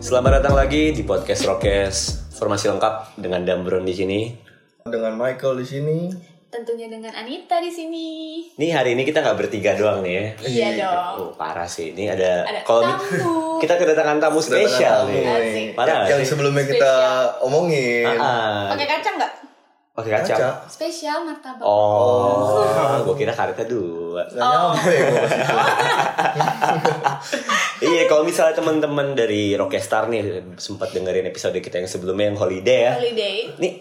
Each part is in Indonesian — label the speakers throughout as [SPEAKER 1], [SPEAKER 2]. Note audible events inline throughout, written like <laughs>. [SPEAKER 1] Selamat datang lagi di podcast Rokes. Formasi lengkap dengan Dambron di sini.
[SPEAKER 2] dengan Michael di sini.
[SPEAKER 3] Tentunya dengan Anita di sini.
[SPEAKER 1] Nih hari ini kita nggak bertiga doang nih ya.
[SPEAKER 3] Iya dong.
[SPEAKER 1] Oh, parah sih. Ini ada,
[SPEAKER 3] Ada
[SPEAKER 1] kalau di-
[SPEAKER 3] tamu.
[SPEAKER 1] <laughs> kita kedatangan tamu spesial
[SPEAKER 2] Kedatangan
[SPEAKER 1] nih.
[SPEAKER 2] tamu
[SPEAKER 3] Asik.
[SPEAKER 1] Parah
[SPEAKER 2] yang
[SPEAKER 1] sih.
[SPEAKER 2] sebelumnya kita omongin.
[SPEAKER 1] Ah,
[SPEAKER 3] Pakai kacang nggak?
[SPEAKER 1] Pakai
[SPEAKER 2] Kaca.
[SPEAKER 1] kaca.
[SPEAKER 3] Spesial martabak.
[SPEAKER 1] Oh, gue kira karetnya dua.
[SPEAKER 2] Gak nyampe gua pas itu.
[SPEAKER 1] iya, kalau misalnya teman-teman dari Rockstar nih sempat dengerin episode kita yang sebelumnya yang holiday ya.
[SPEAKER 3] Holiday.
[SPEAKER 1] Nih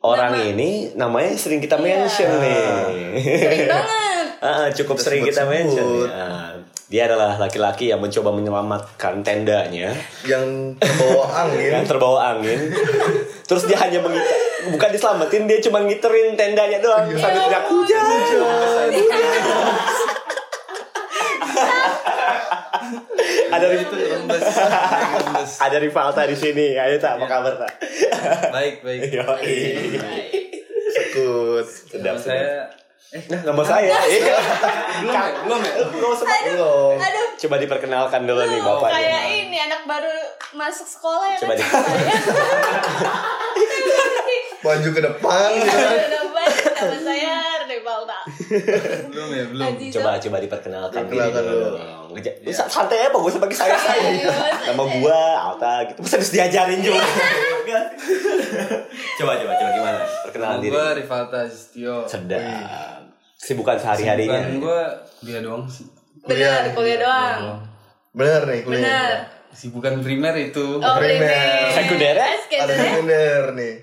[SPEAKER 1] orang
[SPEAKER 3] Nama.
[SPEAKER 1] ini namanya sering kita mention
[SPEAKER 2] Iya.
[SPEAKER 1] nih.
[SPEAKER 3] Sering
[SPEAKER 1] <laughs>
[SPEAKER 3] banget.
[SPEAKER 1] Ah, ah, cukup sering kita
[SPEAKER 2] sebut-sebut.
[SPEAKER 1] mention. ya. Ah, dia adalah laki-laki yang mencoba menyelamatkan tendanya
[SPEAKER 2] yang terbawa angin.
[SPEAKER 1] yang terbawa
[SPEAKER 4] <laughs>
[SPEAKER 1] angin. Terus dia hanya mengita, bukan diselamatin, dia cuma ngiterin tendanya doang
[SPEAKER 4] Iya.
[SPEAKER 1] sambil teriak
[SPEAKER 3] Iya,
[SPEAKER 1] hujan. Ada
[SPEAKER 4] itu lembes. lembes.
[SPEAKER 1] <laughs> ada rival di sini. Ayo tak, apa
[SPEAKER 4] Iya.
[SPEAKER 1] kabar iya. tak?
[SPEAKER 4] Baik, baik.
[SPEAKER 1] Yoi.
[SPEAKER 2] Sekut.
[SPEAKER 1] Sedap,
[SPEAKER 4] Nama saya eh
[SPEAKER 1] Nah, nama saya. Iya.
[SPEAKER 4] belum ya? Belum ya?
[SPEAKER 1] Nggak usah.
[SPEAKER 2] Belum.
[SPEAKER 3] <laughs> Aduh.
[SPEAKER 1] Coba diperkenalkan dulu nih bapak.
[SPEAKER 3] Kayak ini anak baru masuk sekolah ya.
[SPEAKER 1] Coba
[SPEAKER 3] kan?
[SPEAKER 1] di-
[SPEAKER 2] Maju ke depan. gitu.
[SPEAKER 3] Udah baik. Nama saya Rebalda.
[SPEAKER 4] Belum ya? Belum.
[SPEAKER 3] Aziza.
[SPEAKER 1] Coba coba diperkenalkan Iya. diri
[SPEAKER 2] Perkenalkan dulu.
[SPEAKER 1] dong. Ngeja- Lu sa- santai apa gue sebagai saya saya.
[SPEAKER 3] Iya,
[SPEAKER 1] Nama
[SPEAKER 3] santai.
[SPEAKER 1] gua Alta gitu. Masa harus diajarin juga. Iya. coba coba coba gimana? Perkenalan diri.
[SPEAKER 4] Gue Rivalta Zistio.
[SPEAKER 1] Sedap. Sibukan sehari-harinya.
[SPEAKER 4] gue dia doang sih.
[SPEAKER 1] Iya.
[SPEAKER 3] Bener, kuliah doang.
[SPEAKER 2] Bener nih kuliah.
[SPEAKER 3] Bener.
[SPEAKER 4] Sibukan primer
[SPEAKER 1] Iya.
[SPEAKER 4] itu
[SPEAKER 3] Oh,
[SPEAKER 2] Primer.
[SPEAKER 3] primer.
[SPEAKER 1] Sekunder ya?
[SPEAKER 2] Ada
[SPEAKER 3] Sekunder.
[SPEAKER 2] sekunder nih.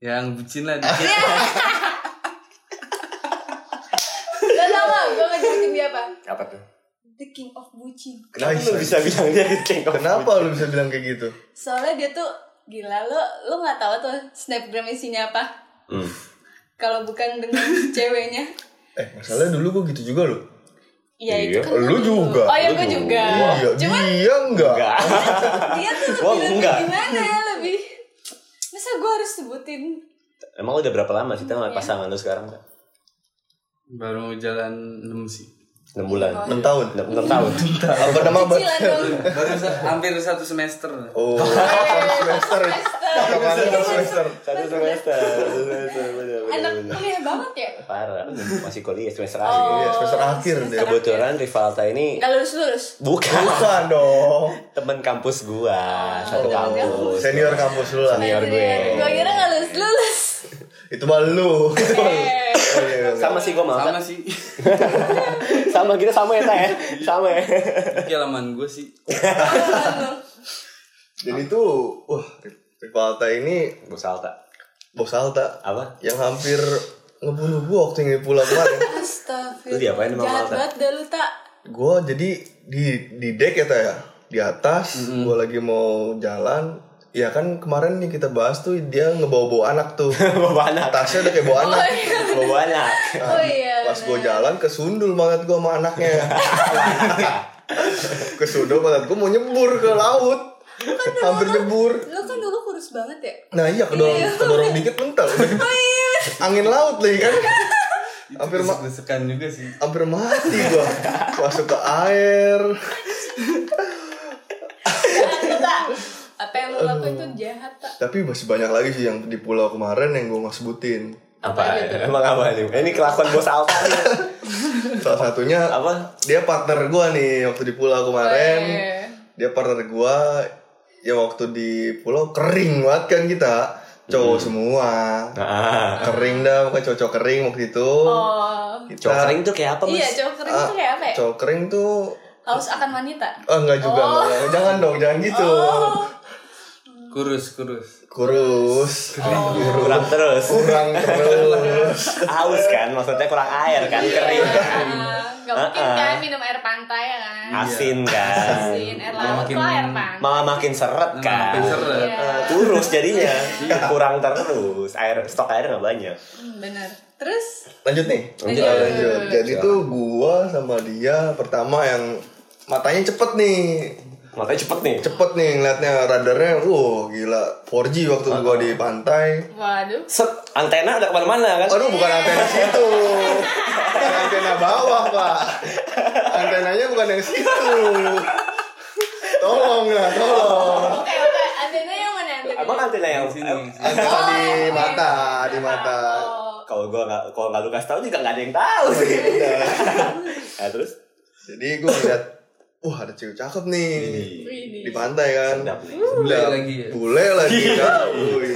[SPEAKER 4] yang bucin lah dikit.
[SPEAKER 3] Oh, iya. Gak tau lah, gue ngajakin dia apa?
[SPEAKER 1] Apa tuh?
[SPEAKER 3] The King of Bucin.
[SPEAKER 1] Kenapa lu
[SPEAKER 2] Aisyah.
[SPEAKER 1] bisa bilang dia king of
[SPEAKER 2] Kenapa lu bisa bilang kayak gitu?
[SPEAKER 3] Soalnya dia tuh gila lo, lo nggak tahu tuh snapgram isinya apa?
[SPEAKER 1] Hmm. <laughs>
[SPEAKER 3] Kalau bukan dengan ceweknya.
[SPEAKER 2] Eh, masalahnya dulu gua gitu juga lu.
[SPEAKER 3] Iya itu
[SPEAKER 1] Iya,
[SPEAKER 3] kan
[SPEAKER 2] lu
[SPEAKER 3] gua
[SPEAKER 2] juga.
[SPEAKER 3] Oh iya
[SPEAKER 1] Lu
[SPEAKER 3] gue juga.
[SPEAKER 2] Iya,
[SPEAKER 3] Cuma
[SPEAKER 2] dia enggak.
[SPEAKER 1] Enggak.
[SPEAKER 3] dia tuh
[SPEAKER 1] Gua
[SPEAKER 3] lebih
[SPEAKER 1] enggak.
[SPEAKER 3] gimana lebih. Masa gue harus sebutin?
[SPEAKER 1] Emang udah berapa lama sih sama pasangan lu sekarang?
[SPEAKER 4] Baru jalan 6 sih.
[SPEAKER 1] 6 bulan.
[SPEAKER 2] 6 tahun.
[SPEAKER 1] 6 tahun.
[SPEAKER 2] Apa nama bang?
[SPEAKER 3] Cicilan dong.
[SPEAKER 4] Baru sa- hampir satu semester.
[SPEAKER 2] Oh, satu semester.
[SPEAKER 3] Semester.
[SPEAKER 2] Apaan satu semester?
[SPEAKER 1] <laughs> Satu semester. Satu semester. bener, bener,
[SPEAKER 3] Anak
[SPEAKER 1] bener.
[SPEAKER 3] kuliah banget ya.
[SPEAKER 1] Parah. Masih kuliah semester
[SPEAKER 3] Oh.
[SPEAKER 1] akhir.
[SPEAKER 2] Iya, semester akhir dia.
[SPEAKER 1] Kebetulan Rivalta ini
[SPEAKER 3] Gak lulus lulus.
[SPEAKER 1] bukan
[SPEAKER 2] Bukan dong.
[SPEAKER 1] temen kampus gua satu
[SPEAKER 3] Oh.
[SPEAKER 1] kampus
[SPEAKER 2] Senior kampus lu lah.
[SPEAKER 1] Senior. Biar gue.
[SPEAKER 3] Gue
[SPEAKER 2] Iya,
[SPEAKER 3] kira gak lulus lulus.
[SPEAKER 2] Itu mah lu. <laughs>
[SPEAKER 3] Eh,
[SPEAKER 2] Oh, iya, iya.
[SPEAKER 1] sama sih gua malah
[SPEAKER 4] Sama
[SPEAKER 1] <laughs>
[SPEAKER 4] sih.
[SPEAKER 1] sama kita sama ya Tay, ya sama ya
[SPEAKER 4] Kelaman gue sih.
[SPEAKER 2] Jadi tuh, wah, Rivalta ini
[SPEAKER 1] gua salta
[SPEAKER 2] bos Alta
[SPEAKER 1] apa
[SPEAKER 2] yang hampir ngebunuh gua waktu yang pulang
[SPEAKER 1] <laughs>
[SPEAKER 2] kemarin.
[SPEAKER 3] Astagfirullah.
[SPEAKER 1] Lu diapain sama
[SPEAKER 3] Jahat
[SPEAKER 1] Malta?
[SPEAKER 3] banget dah lu tak.
[SPEAKER 2] gua jadi di di deck ya Ta, ya, di atas, gua lagi mau jalan. Ya kan kemarin yang kita bahas tuh dia ngebawa-bawa anak
[SPEAKER 1] <laughs>
[SPEAKER 2] tuh.
[SPEAKER 1] bawa anak
[SPEAKER 2] Tasnya udah kayak bawa
[SPEAKER 1] Oh,
[SPEAKER 2] anak.
[SPEAKER 1] iya. bawa anak
[SPEAKER 3] Oh iya.
[SPEAKER 2] Ah, Pas gua jalan kesundul banget gua sama
[SPEAKER 3] <laughs>
[SPEAKER 2] anaknya. kesundul banget gua mau nyebur ke laut. Hampir nyebur.
[SPEAKER 3] Lu kan dulu kurus banget ya.
[SPEAKER 2] Nah iya kedorong,
[SPEAKER 3] Iya.
[SPEAKER 2] kedorong dikit mental.
[SPEAKER 3] <laughs>
[SPEAKER 2] Angin laut lagi kan.
[SPEAKER 3] Iya.
[SPEAKER 2] Hampir ma-
[SPEAKER 4] Desek-desekan juga sih.
[SPEAKER 2] hampir mati gua. Masuk ke air.
[SPEAKER 3] Jahat, tak. Apa yang lu lakuin tuh jahat tak.
[SPEAKER 2] Tapi masih banyak lagi sih yang di pulau kemarin yang gua nggak sebutin.
[SPEAKER 1] apa ya?
[SPEAKER 3] gitu?
[SPEAKER 1] emang apa nih ini kelakuan bos Alta nih
[SPEAKER 2] Salah satunya
[SPEAKER 1] apa
[SPEAKER 2] dia partner gua nih waktu di pulau kemarin.
[SPEAKER 3] Eh.
[SPEAKER 2] Dia partner gua ya waktu di pulau kering banget kan kita. Cowok
[SPEAKER 1] Hmm.
[SPEAKER 2] semua.
[SPEAKER 1] nah,
[SPEAKER 2] Kering dah, bukan cowok kering waktu itu.
[SPEAKER 3] Oh.
[SPEAKER 2] Kita-
[SPEAKER 1] cowok kering tuh kayak apa
[SPEAKER 3] Iya,
[SPEAKER 1] mas
[SPEAKER 3] cowok kering tuh kayak apa ya?
[SPEAKER 2] Cowok kering tuh
[SPEAKER 3] Haus akan wanita.
[SPEAKER 2] Oh enggak juga, enggak. jangan dong, jangan gitu.
[SPEAKER 4] Kurus, kurus.
[SPEAKER 2] Kurus,
[SPEAKER 1] kurang terus
[SPEAKER 2] kurang terus.
[SPEAKER 1] haus kan maksudnya kurang air kan
[SPEAKER 3] Iya.
[SPEAKER 1] kering kan
[SPEAKER 3] Ah, Gak mungkin kan minum air pantai ya kan?
[SPEAKER 1] asin kan
[SPEAKER 3] Asin, air laut
[SPEAKER 4] Makin-
[SPEAKER 3] lah air pantai.
[SPEAKER 1] malah makin seret kan
[SPEAKER 4] Makin seret.
[SPEAKER 3] Iya.
[SPEAKER 1] Eh, kurus jadinya kurang terus air stok air nggak banyak
[SPEAKER 3] Hmm, Bener. Terus?
[SPEAKER 2] Lanjut nih.
[SPEAKER 1] Lanjut.
[SPEAKER 2] Oh, lanjut. Jadi tuh gua sama dia pertama yang matanya cepet nih.
[SPEAKER 1] makanya cepet nih
[SPEAKER 2] Cepet nih ngeliatnya radarnya, wow gila 4G waktu gua di pantai.
[SPEAKER 3] Waduh.
[SPEAKER 1] set antena udah kemana-mana kan
[SPEAKER 2] Aduh bukan antena situ, bukan antena bawah pak. Antenanya bukan yang situ. Tolong lah, tolong.
[SPEAKER 1] mana antena yang
[SPEAKER 4] Yang sini, yang sini.
[SPEAKER 2] Antena di
[SPEAKER 3] Oh, yang
[SPEAKER 2] mata,
[SPEAKER 3] enak.
[SPEAKER 2] di mata.
[SPEAKER 3] Oh.
[SPEAKER 1] kalau gua nggak kalau nggak lu kasih tahu juga nggak ada yang tahu sih <laughs> nah terus
[SPEAKER 2] Jadi gue lihat, wah ada cewek cakep nih
[SPEAKER 3] Wih,
[SPEAKER 2] di pantai kan.
[SPEAKER 1] sedap nih
[SPEAKER 4] Bule
[SPEAKER 2] Udah,
[SPEAKER 4] lagi ya?
[SPEAKER 2] Bule lagi kan. Wih.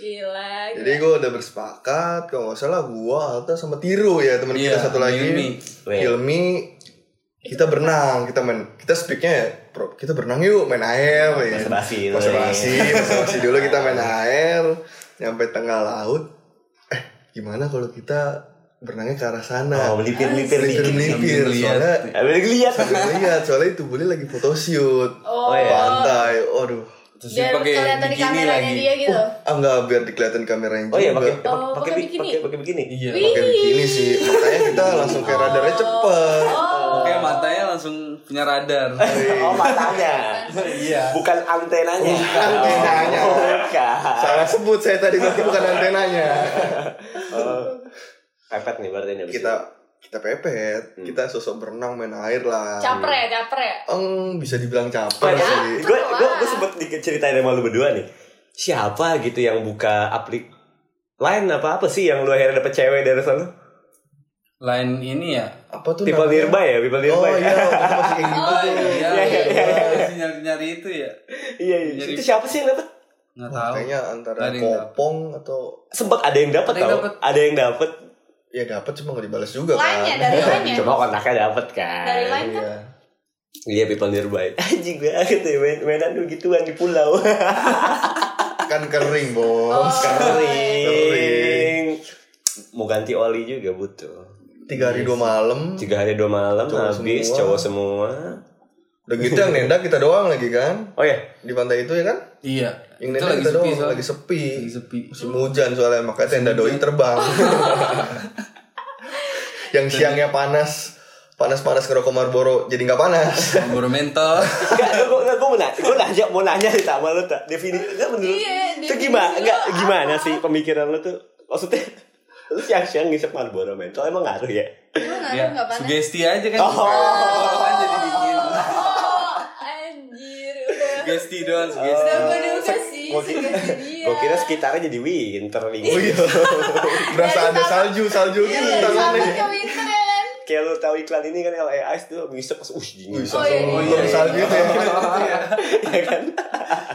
[SPEAKER 3] Gila.
[SPEAKER 2] Jadi gue udah bersepakat, kalau nggak salah gue Alta sama Tiru ya teman
[SPEAKER 4] Iya,
[SPEAKER 2] kita satu lagi.
[SPEAKER 4] Hilmi.
[SPEAKER 1] Weh.
[SPEAKER 2] Hilmi kita berenang, kita main, kita speaknya ya, bro, kita berenang yuk, main air, ya.
[SPEAKER 1] Bahasa basi Nah, itu
[SPEAKER 2] Bahasa
[SPEAKER 1] nih.
[SPEAKER 2] basi, bahasa basi dulu kita
[SPEAKER 1] <laughs>
[SPEAKER 2] main air, nyampe tengah laut. Eh, gimana kalau kita berenangnya ke arah sana?
[SPEAKER 1] oh melipir melipir Eh, nih
[SPEAKER 2] Melipir-melipir,
[SPEAKER 4] Sambil
[SPEAKER 2] soalnya
[SPEAKER 1] Ambil lihat
[SPEAKER 2] sambil lihat, soalnya itu boleh lagi photoshoot,
[SPEAKER 3] Oh,
[SPEAKER 1] Oh, iya.
[SPEAKER 2] pantai, waduh.
[SPEAKER 4] Terus dia
[SPEAKER 3] Biar
[SPEAKER 4] pakai
[SPEAKER 3] kelihatan di
[SPEAKER 4] bikini
[SPEAKER 3] kameranya
[SPEAKER 4] lagi.
[SPEAKER 3] dia gitu.
[SPEAKER 2] Ah nggak biar dikelihatan kameranya juga.
[SPEAKER 1] oh iya pakai pakai
[SPEAKER 3] Oh,
[SPEAKER 1] pakai
[SPEAKER 3] pakai
[SPEAKER 1] bi-
[SPEAKER 3] bikini.
[SPEAKER 1] pakai pakai begini
[SPEAKER 4] Iya.
[SPEAKER 3] Wih.
[SPEAKER 2] pakai bikini sih makanya kita langsung kayak radarnya cepet
[SPEAKER 4] Oke, matanya langsung punya radar.
[SPEAKER 1] oh matanya
[SPEAKER 4] Iya.
[SPEAKER 1] bukan antenanya
[SPEAKER 2] antenanya.
[SPEAKER 1] Oh, bukan
[SPEAKER 2] salah sebut saya tadi berarti bukan antenanya
[SPEAKER 1] pepet nih berarti ini abis
[SPEAKER 2] kita
[SPEAKER 1] itu.
[SPEAKER 2] kita pepet kita sosok berenang main air lah
[SPEAKER 3] Capre ya, capre ya.
[SPEAKER 2] Eng, bisa dibilang capek
[SPEAKER 1] Gue
[SPEAKER 2] sih
[SPEAKER 1] gue gue sempet dikit ceritain sama lu berdua nih. Siapa gitu yang buka aplik lain apa apa sih yang lu akhirnya dapet cewek dari sana?
[SPEAKER 4] Lain ini ya.
[SPEAKER 2] apa tuh
[SPEAKER 1] People
[SPEAKER 2] namanya?
[SPEAKER 1] nearby ya, people
[SPEAKER 2] oh
[SPEAKER 1] nearby.
[SPEAKER 2] iya waktu itu masih kayak gitu
[SPEAKER 4] Oh, iya,
[SPEAKER 1] iya, iya.
[SPEAKER 4] Masih nyari-nyari itu ya.
[SPEAKER 1] iya, iya.
[SPEAKER 4] Jadi-
[SPEAKER 1] Itu siapa sih yang dapet?
[SPEAKER 2] Wah,
[SPEAKER 4] Enggak tahu.
[SPEAKER 2] Nah, kayaknya antara
[SPEAKER 4] Nggak ada yang dapet.
[SPEAKER 2] kopong atau
[SPEAKER 1] Sempet ada yang dapet
[SPEAKER 4] Ada yang
[SPEAKER 1] tau?
[SPEAKER 4] dapet.
[SPEAKER 1] Ada yang dapet.
[SPEAKER 2] ya dapat cuma nggak dibalas juga kan
[SPEAKER 3] Lainnya dari lainnya.
[SPEAKER 1] Cuma kontaknya dapet kan.
[SPEAKER 3] Dari lain
[SPEAKER 2] <laughs>
[SPEAKER 3] kan.
[SPEAKER 2] iya
[SPEAKER 1] Iya, people nearby. Anjing banget ya, main mainan lu gituan di pulau.
[SPEAKER 2] kan kering bos
[SPEAKER 1] Oh. Kering. Mau ganti oli juga butuh.
[SPEAKER 2] tiga hari dua malam
[SPEAKER 4] Iya
[SPEAKER 1] Tiga hari dua malam
[SPEAKER 2] Cowok
[SPEAKER 1] habis
[SPEAKER 2] semua.
[SPEAKER 1] cowok semua.
[SPEAKER 2] udah gitu yang nenda kita doang lagi kan
[SPEAKER 1] Oh ya,
[SPEAKER 2] di pantai itu ya kan
[SPEAKER 4] Iya.
[SPEAKER 2] yang
[SPEAKER 4] itu
[SPEAKER 2] nenda kita
[SPEAKER 4] lagi
[SPEAKER 2] doang
[SPEAKER 4] sepi, soalnya.
[SPEAKER 2] lagi
[SPEAKER 4] <laughs>
[SPEAKER 2] <laughs> sepi
[SPEAKER 4] Lagi sepi.
[SPEAKER 2] musim hujan soalnya makanya tenda doi
[SPEAKER 4] <laughs>
[SPEAKER 2] terbang yang siangnya panas panas panas ngerokok Marlboro jadi nggak panas
[SPEAKER 4] <laughs> Buru mental.
[SPEAKER 1] Enggak, gue gue mau nanya, gue nanya mau nanya sih sama lu tak defini, enggak menurut,
[SPEAKER 3] Iya,
[SPEAKER 1] itu
[SPEAKER 3] definisi
[SPEAKER 1] gimana,
[SPEAKER 3] lu
[SPEAKER 1] enggak
[SPEAKER 3] apa?
[SPEAKER 1] gimana sih pemikiran lu tuh, maksudnya lu siang-siang ngisep Marlboro mental emang ngaruh ya?
[SPEAKER 3] Lu ngaruh
[SPEAKER 4] ya,
[SPEAKER 3] nggak panas?
[SPEAKER 4] sugesti aja kan.
[SPEAKER 1] Oh.
[SPEAKER 4] Orang kan jadi dingin.
[SPEAKER 3] Oh, anjir. Udah.
[SPEAKER 4] Sugesti doang, sugesti.
[SPEAKER 3] Udah gue duga sih, Iya.
[SPEAKER 1] Gua kira-
[SPEAKER 3] sugesti
[SPEAKER 1] <laughs>
[SPEAKER 3] dia.
[SPEAKER 1] Gue kira sekitarnya jadi winter nih, gitu.
[SPEAKER 2] oh iya
[SPEAKER 4] Iya,
[SPEAKER 2] berasa ada salju salju
[SPEAKER 3] Iya,
[SPEAKER 2] gitu
[SPEAKER 3] dari
[SPEAKER 2] tangannya
[SPEAKER 3] sahabat ke winter ya kan.
[SPEAKER 1] <laughs> kayak lu tahu iklan ini kan LA Ice tuh ngisep pas uh dingin,
[SPEAKER 2] bisa
[SPEAKER 3] Oh, iya,
[SPEAKER 2] oh,
[SPEAKER 3] iya.
[SPEAKER 2] salju itu ya
[SPEAKER 1] <laughs> ya kan?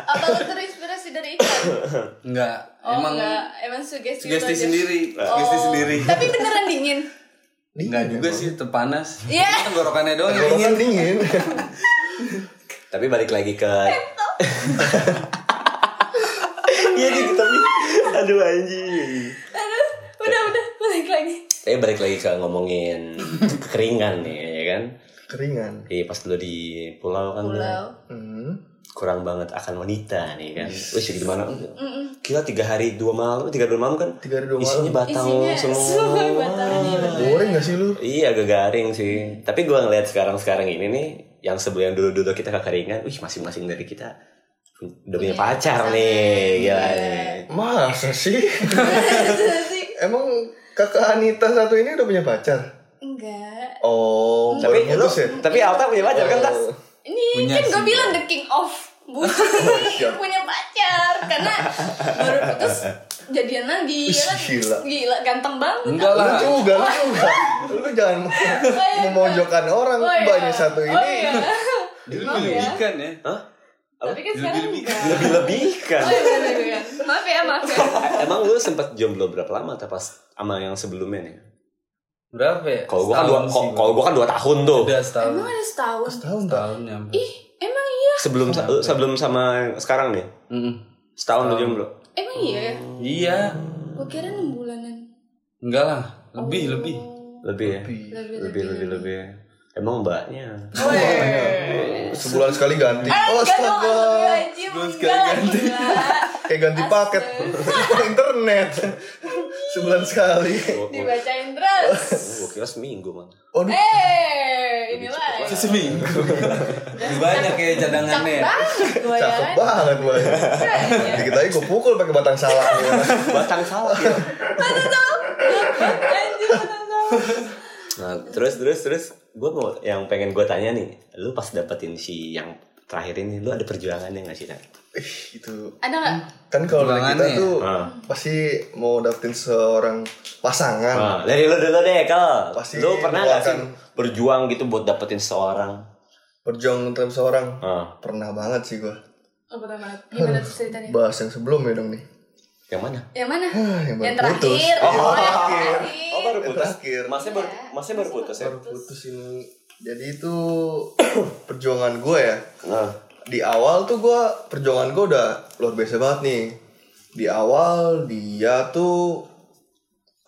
[SPEAKER 3] Apa lu terinspirasi dari iklan?
[SPEAKER 4] Enggak.
[SPEAKER 3] Oh,
[SPEAKER 4] Emang
[SPEAKER 3] enggak. Emang sugesti. lu
[SPEAKER 4] sugesti
[SPEAKER 3] aja.
[SPEAKER 4] sendiri, sugesti
[SPEAKER 3] Oh,
[SPEAKER 4] sendiri.
[SPEAKER 3] <laughs> Tapi beneran dingin.
[SPEAKER 4] Enggak juga sih, terpanas.
[SPEAKER 3] Iya.
[SPEAKER 4] Tenggorokannya doang yang
[SPEAKER 2] dingin
[SPEAKER 4] dingin.
[SPEAKER 2] dingin
[SPEAKER 4] <laughs>
[SPEAKER 1] Tapi balik lagi ke <laughs> Iya gitu tapi aduh anjing.
[SPEAKER 3] Aduh, udah udah balik lagi.
[SPEAKER 1] Tapi balik lagi ke ngomongin kekeringan nih ya kan.
[SPEAKER 2] keringan
[SPEAKER 1] Iya pas lu di pulau kan lu
[SPEAKER 3] Pulau.
[SPEAKER 2] hmm.
[SPEAKER 1] kurang banget akan wanita nih kan. Wih jadi gimana? Gila tiga hari dua malam, tiga dua malam kan?
[SPEAKER 2] Tiga hari dua
[SPEAKER 1] Isinya
[SPEAKER 2] malam.
[SPEAKER 1] batang
[SPEAKER 3] Isinya
[SPEAKER 1] semua.
[SPEAKER 3] semua batangnya, bener.
[SPEAKER 2] boring gak sih lu
[SPEAKER 1] Iya agak garing sih. Tapi gua ngeliat sekarang-sekarang ini nih, yang sebelum yang dulu-dulu kita kekeringan, wih masing-masing dari kita udah punya pacar nih, gila nih.
[SPEAKER 2] masa
[SPEAKER 4] <laughs>
[SPEAKER 2] sih
[SPEAKER 3] Sugesti.
[SPEAKER 2] emang kakak Anita satu ini udah punya pacar
[SPEAKER 3] Enggak.
[SPEAKER 2] oh
[SPEAKER 1] Tapi lu,
[SPEAKER 2] baru putus ya
[SPEAKER 1] tapi Alta punya pacar kan tas?
[SPEAKER 2] Oh.
[SPEAKER 3] Ini
[SPEAKER 4] Punya
[SPEAKER 3] kan gue
[SPEAKER 4] sih.
[SPEAKER 3] bilang the king of bucin
[SPEAKER 1] Oh, iya.
[SPEAKER 3] nih, punya pacar karena baru putus jadian lagi ya kan?
[SPEAKER 2] Gila.
[SPEAKER 3] gila ganteng banget
[SPEAKER 4] Enggak
[SPEAKER 2] Lu
[SPEAKER 4] lah.
[SPEAKER 2] juga, lu juga. Lu jangan memojokkan orang
[SPEAKER 3] iya, Oh, iya.
[SPEAKER 2] banyak satu
[SPEAKER 3] oh,
[SPEAKER 2] ini.
[SPEAKER 3] iya.
[SPEAKER 4] Dulu
[SPEAKER 3] Maaf ya.
[SPEAKER 4] ikan ya.
[SPEAKER 1] Hah?
[SPEAKER 3] tapi kan sekarang
[SPEAKER 4] Lebih-lebih.
[SPEAKER 3] enggak. <laughs>
[SPEAKER 1] Lebih-lebihkan.
[SPEAKER 3] oh iya bener, bener. maaf ya maaf ya
[SPEAKER 1] Emang lu sempat jomblo berapa lama tuh pas sama yang sebelumnya nih?
[SPEAKER 4] Berapa ya?
[SPEAKER 1] Kalau gua kan dua,
[SPEAKER 4] Setahun
[SPEAKER 1] kalau
[SPEAKER 4] sih,
[SPEAKER 1] kalau gua kan dua tahun tuh.
[SPEAKER 4] Udah setahun.
[SPEAKER 3] emang ada setahun
[SPEAKER 2] Setahun tak?
[SPEAKER 4] Setahun nyampe.
[SPEAKER 3] ih emang iya
[SPEAKER 1] Sebelum sebelum sama sekarang nih.
[SPEAKER 4] Mm-mm.
[SPEAKER 1] Setahun lu jomblo.
[SPEAKER 3] emang iya
[SPEAKER 4] Iya.
[SPEAKER 3] gue kira enam bulanan
[SPEAKER 4] Enggak lah. Lebih, lebih.
[SPEAKER 1] Lebih ya?
[SPEAKER 3] lebih
[SPEAKER 1] Lebih lebih lebih. Emang mbaknya.
[SPEAKER 3] oh, iya. Eh,
[SPEAKER 2] Sebulan sekali ganti. Oh,
[SPEAKER 3] enggak dong
[SPEAKER 2] astaga.
[SPEAKER 3] lebih wajib
[SPEAKER 4] Terus
[SPEAKER 3] enggak lah
[SPEAKER 4] ganti.
[SPEAKER 3] gila.
[SPEAKER 2] Kayak ganti paket <laughs> internet. Sebulan sekali.
[SPEAKER 1] Gua, gua,
[SPEAKER 3] dibacain <laughs> terus
[SPEAKER 1] gua kira seminggu man.
[SPEAKER 2] Waduh,
[SPEAKER 3] eh ini lah
[SPEAKER 4] <laughs> Seminggu. Banyak ya cadangannya.
[SPEAKER 3] banget gue ya
[SPEAKER 2] cakep banget boy.
[SPEAKER 3] Kayaknya.
[SPEAKER 2] Dikit aja gue pukul pakai batang salak.
[SPEAKER 1] Batang salah ya.
[SPEAKER 3] Anjir, bener dong.
[SPEAKER 1] Nah, terus terus terus gua mau yang pengen gua tanya nih, lu pas dapetin si yang terakhir ini lu ada perjuangannya nggak sih Nat?
[SPEAKER 2] Ih, itu
[SPEAKER 3] Ada nggak?
[SPEAKER 2] kan kalau dari kita
[SPEAKER 4] Perjuangannya ya?
[SPEAKER 2] tuh
[SPEAKER 1] Ah.
[SPEAKER 2] pasti mau dapetin seorang pasangan.
[SPEAKER 1] Ah, dari lu dulu deh kalau
[SPEAKER 2] Pasti
[SPEAKER 1] lu pernah nggak sih
[SPEAKER 2] mengeluarkan-
[SPEAKER 1] berjuang gitu buat dapetin seorang
[SPEAKER 2] Berjuang terhadap seorang
[SPEAKER 1] Ah,
[SPEAKER 2] pernah banget sih gua.
[SPEAKER 3] Oh, betul banget. Gimana tuh ceritanya?
[SPEAKER 2] Bahas yang sebelum ya dong nih.
[SPEAKER 1] yang mana
[SPEAKER 3] Yang mana?
[SPEAKER 2] Ah, yang baru
[SPEAKER 3] Yang
[SPEAKER 2] putus.
[SPEAKER 3] terakhir.
[SPEAKER 1] Oh,
[SPEAKER 3] yang
[SPEAKER 1] terakhir.
[SPEAKER 3] terakhir.
[SPEAKER 1] oh baru
[SPEAKER 2] Yang
[SPEAKER 1] putus
[SPEAKER 2] terakhir.
[SPEAKER 1] masnya baru masnya baru putus ya
[SPEAKER 2] Baru putus ini. Jadi itu <coughs> perjuangan gue ya.
[SPEAKER 1] Ah,
[SPEAKER 2] Di awal tuh gua perjuangan gue udah luar biasa banget nih. Di awal dia tuh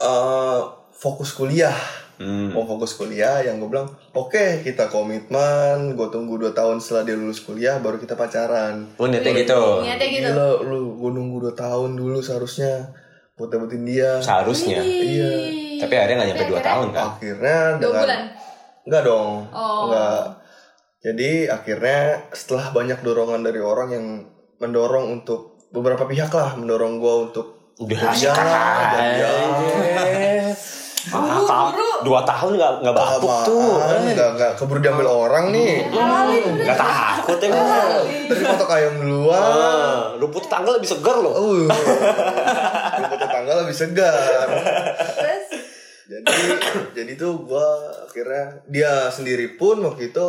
[SPEAKER 2] eh fokus kuliah.
[SPEAKER 1] hmm.
[SPEAKER 2] mau fokus kuliah yang gue bilang oke kita komitmen gue tunggu 2 tahun setelah dia lulus kuliah baru kita pacaran
[SPEAKER 1] Oh, niatnya gitu
[SPEAKER 3] Niatnya gitu.
[SPEAKER 2] gila lu gue nunggu 2 tahun dulu seharusnya buat dapetin dia
[SPEAKER 1] seharusnya
[SPEAKER 3] Iya.
[SPEAKER 1] tapi akhirnya nggak nyampe dua tahun kan
[SPEAKER 2] akhirnya
[SPEAKER 3] Dua
[SPEAKER 2] dengan
[SPEAKER 3] bulan.
[SPEAKER 2] enggak dong
[SPEAKER 3] Oh.
[SPEAKER 2] enggak jadi akhirnya setelah banyak dorongan dari orang yang mendorong untuk beberapa pihak lah mendorong gue untuk
[SPEAKER 1] udah kan?
[SPEAKER 2] kuliah lah, jadian.
[SPEAKER 1] Ah, ta-
[SPEAKER 3] buru.
[SPEAKER 1] dua tahun nggak nggak bapuk
[SPEAKER 2] Apaan,
[SPEAKER 1] tuh eh.
[SPEAKER 2] enggak enggak keburu diambil orang nih
[SPEAKER 1] nggak takut ya kan
[SPEAKER 2] terus matok ayam
[SPEAKER 1] <laughs>
[SPEAKER 2] duluan
[SPEAKER 1] Ah, rumput tanggal lebih segar loh
[SPEAKER 2] Uh, rumput tetangga lebih segar.
[SPEAKER 3] Terus
[SPEAKER 2] Jadi jadi tuh gua akhirnya dia sendiri pun waktu itu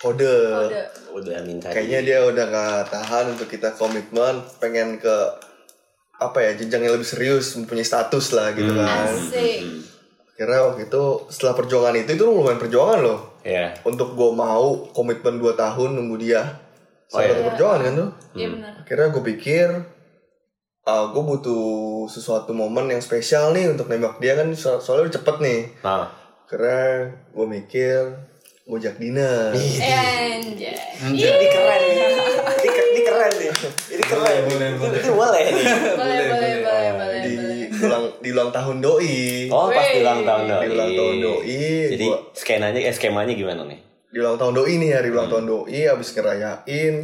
[SPEAKER 2] kode.
[SPEAKER 3] kode.
[SPEAKER 1] udah minta
[SPEAKER 2] Kayaknya dia udah gak tahan untuk kita komitmen, pengen ke apa ya jenjang yang lebih serius, mempunyai status lah gitu
[SPEAKER 1] Hmm.
[SPEAKER 2] kan.
[SPEAKER 3] Asik.
[SPEAKER 2] Akhirnya waktu itu setelah perjuangan itu itu lumayan perjuangan loh.
[SPEAKER 1] ya
[SPEAKER 2] Untuk gua mau komitmen 2 tahun nunggu dia.
[SPEAKER 1] Oh,
[SPEAKER 2] Salah
[SPEAKER 1] iya.
[SPEAKER 2] satu perjuangan kan tuh.
[SPEAKER 3] Iya benar.
[SPEAKER 2] akhirnya gue pikir ah gue butuh sesuatu momen yang spesial nih untuk nembak dia kan so- soalnya udah cepet nih
[SPEAKER 1] nah
[SPEAKER 2] karena gue mikir ngojak dinner
[SPEAKER 1] Iya.
[SPEAKER 3] Anjay.
[SPEAKER 1] ini keren nih ini, ke- ini keren nih ini keren
[SPEAKER 4] Iya, Boleh,
[SPEAKER 1] ini boleh
[SPEAKER 4] boleh,
[SPEAKER 1] nih
[SPEAKER 3] Boleh, boleh, boleh, boleh,
[SPEAKER 2] di
[SPEAKER 3] boleh.
[SPEAKER 2] ulang di ulang tahun doi
[SPEAKER 1] oh pas di ulang tahun doi Iya,
[SPEAKER 2] Di ulang tahun doi,
[SPEAKER 1] jadi
[SPEAKER 2] gua-
[SPEAKER 1] skenanya eh, skemanya gimana nih
[SPEAKER 2] di ulang tahun doi nih hari
[SPEAKER 1] Hmm.
[SPEAKER 2] ulang tahun doi abis ngerayain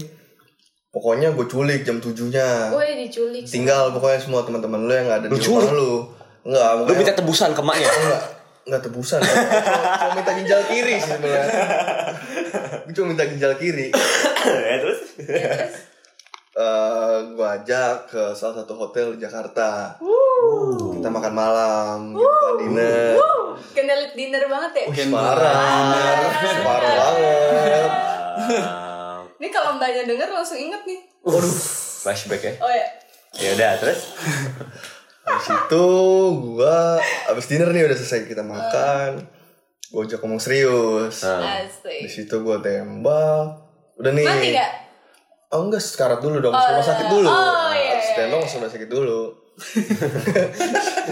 [SPEAKER 2] pokoknya gue culik jam tujuhnya
[SPEAKER 3] Woi diculik.
[SPEAKER 2] tinggal pokoknya semua teman-teman lu yang ada di
[SPEAKER 1] Lu culik?
[SPEAKER 2] rumah lu enggak
[SPEAKER 1] lu minta tebusan ke maknya
[SPEAKER 2] enggak enggak tebusan cuma minta ginjal kiri sih sebenarnya gue cuma minta ginjal kiri
[SPEAKER 1] <laughs> ya terus
[SPEAKER 2] Eh, gue ajak ke salah satu hotel di Jakarta kita makan malam kita dinner
[SPEAKER 3] Wow, Candlelight dinner banget ya.
[SPEAKER 2] Wih, parah parah banget
[SPEAKER 1] Ah,
[SPEAKER 3] Ini kalau mbaknya denger langsung inget nih.
[SPEAKER 2] waduh
[SPEAKER 1] flashback ya
[SPEAKER 3] Oh ya.
[SPEAKER 1] ya udah terus
[SPEAKER 2] Habis itu gue abis dinner nih udah selesai kita makan gue ajak ngomong serius
[SPEAKER 1] Ah.
[SPEAKER 2] di
[SPEAKER 3] Asik.
[SPEAKER 2] situ gue tembak udah nih
[SPEAKER 3] Mati gak?
[SPEAKER 2] Oh enggak, sekarat dulu dong, masuk rumah sakit dulu.
[SPEAKER 3] oh, iya,
[SPEAKER 2] Abis
[SPEAKER 3] iya,
[SPEAKER 2] tembak masuk rumah sakit dulu.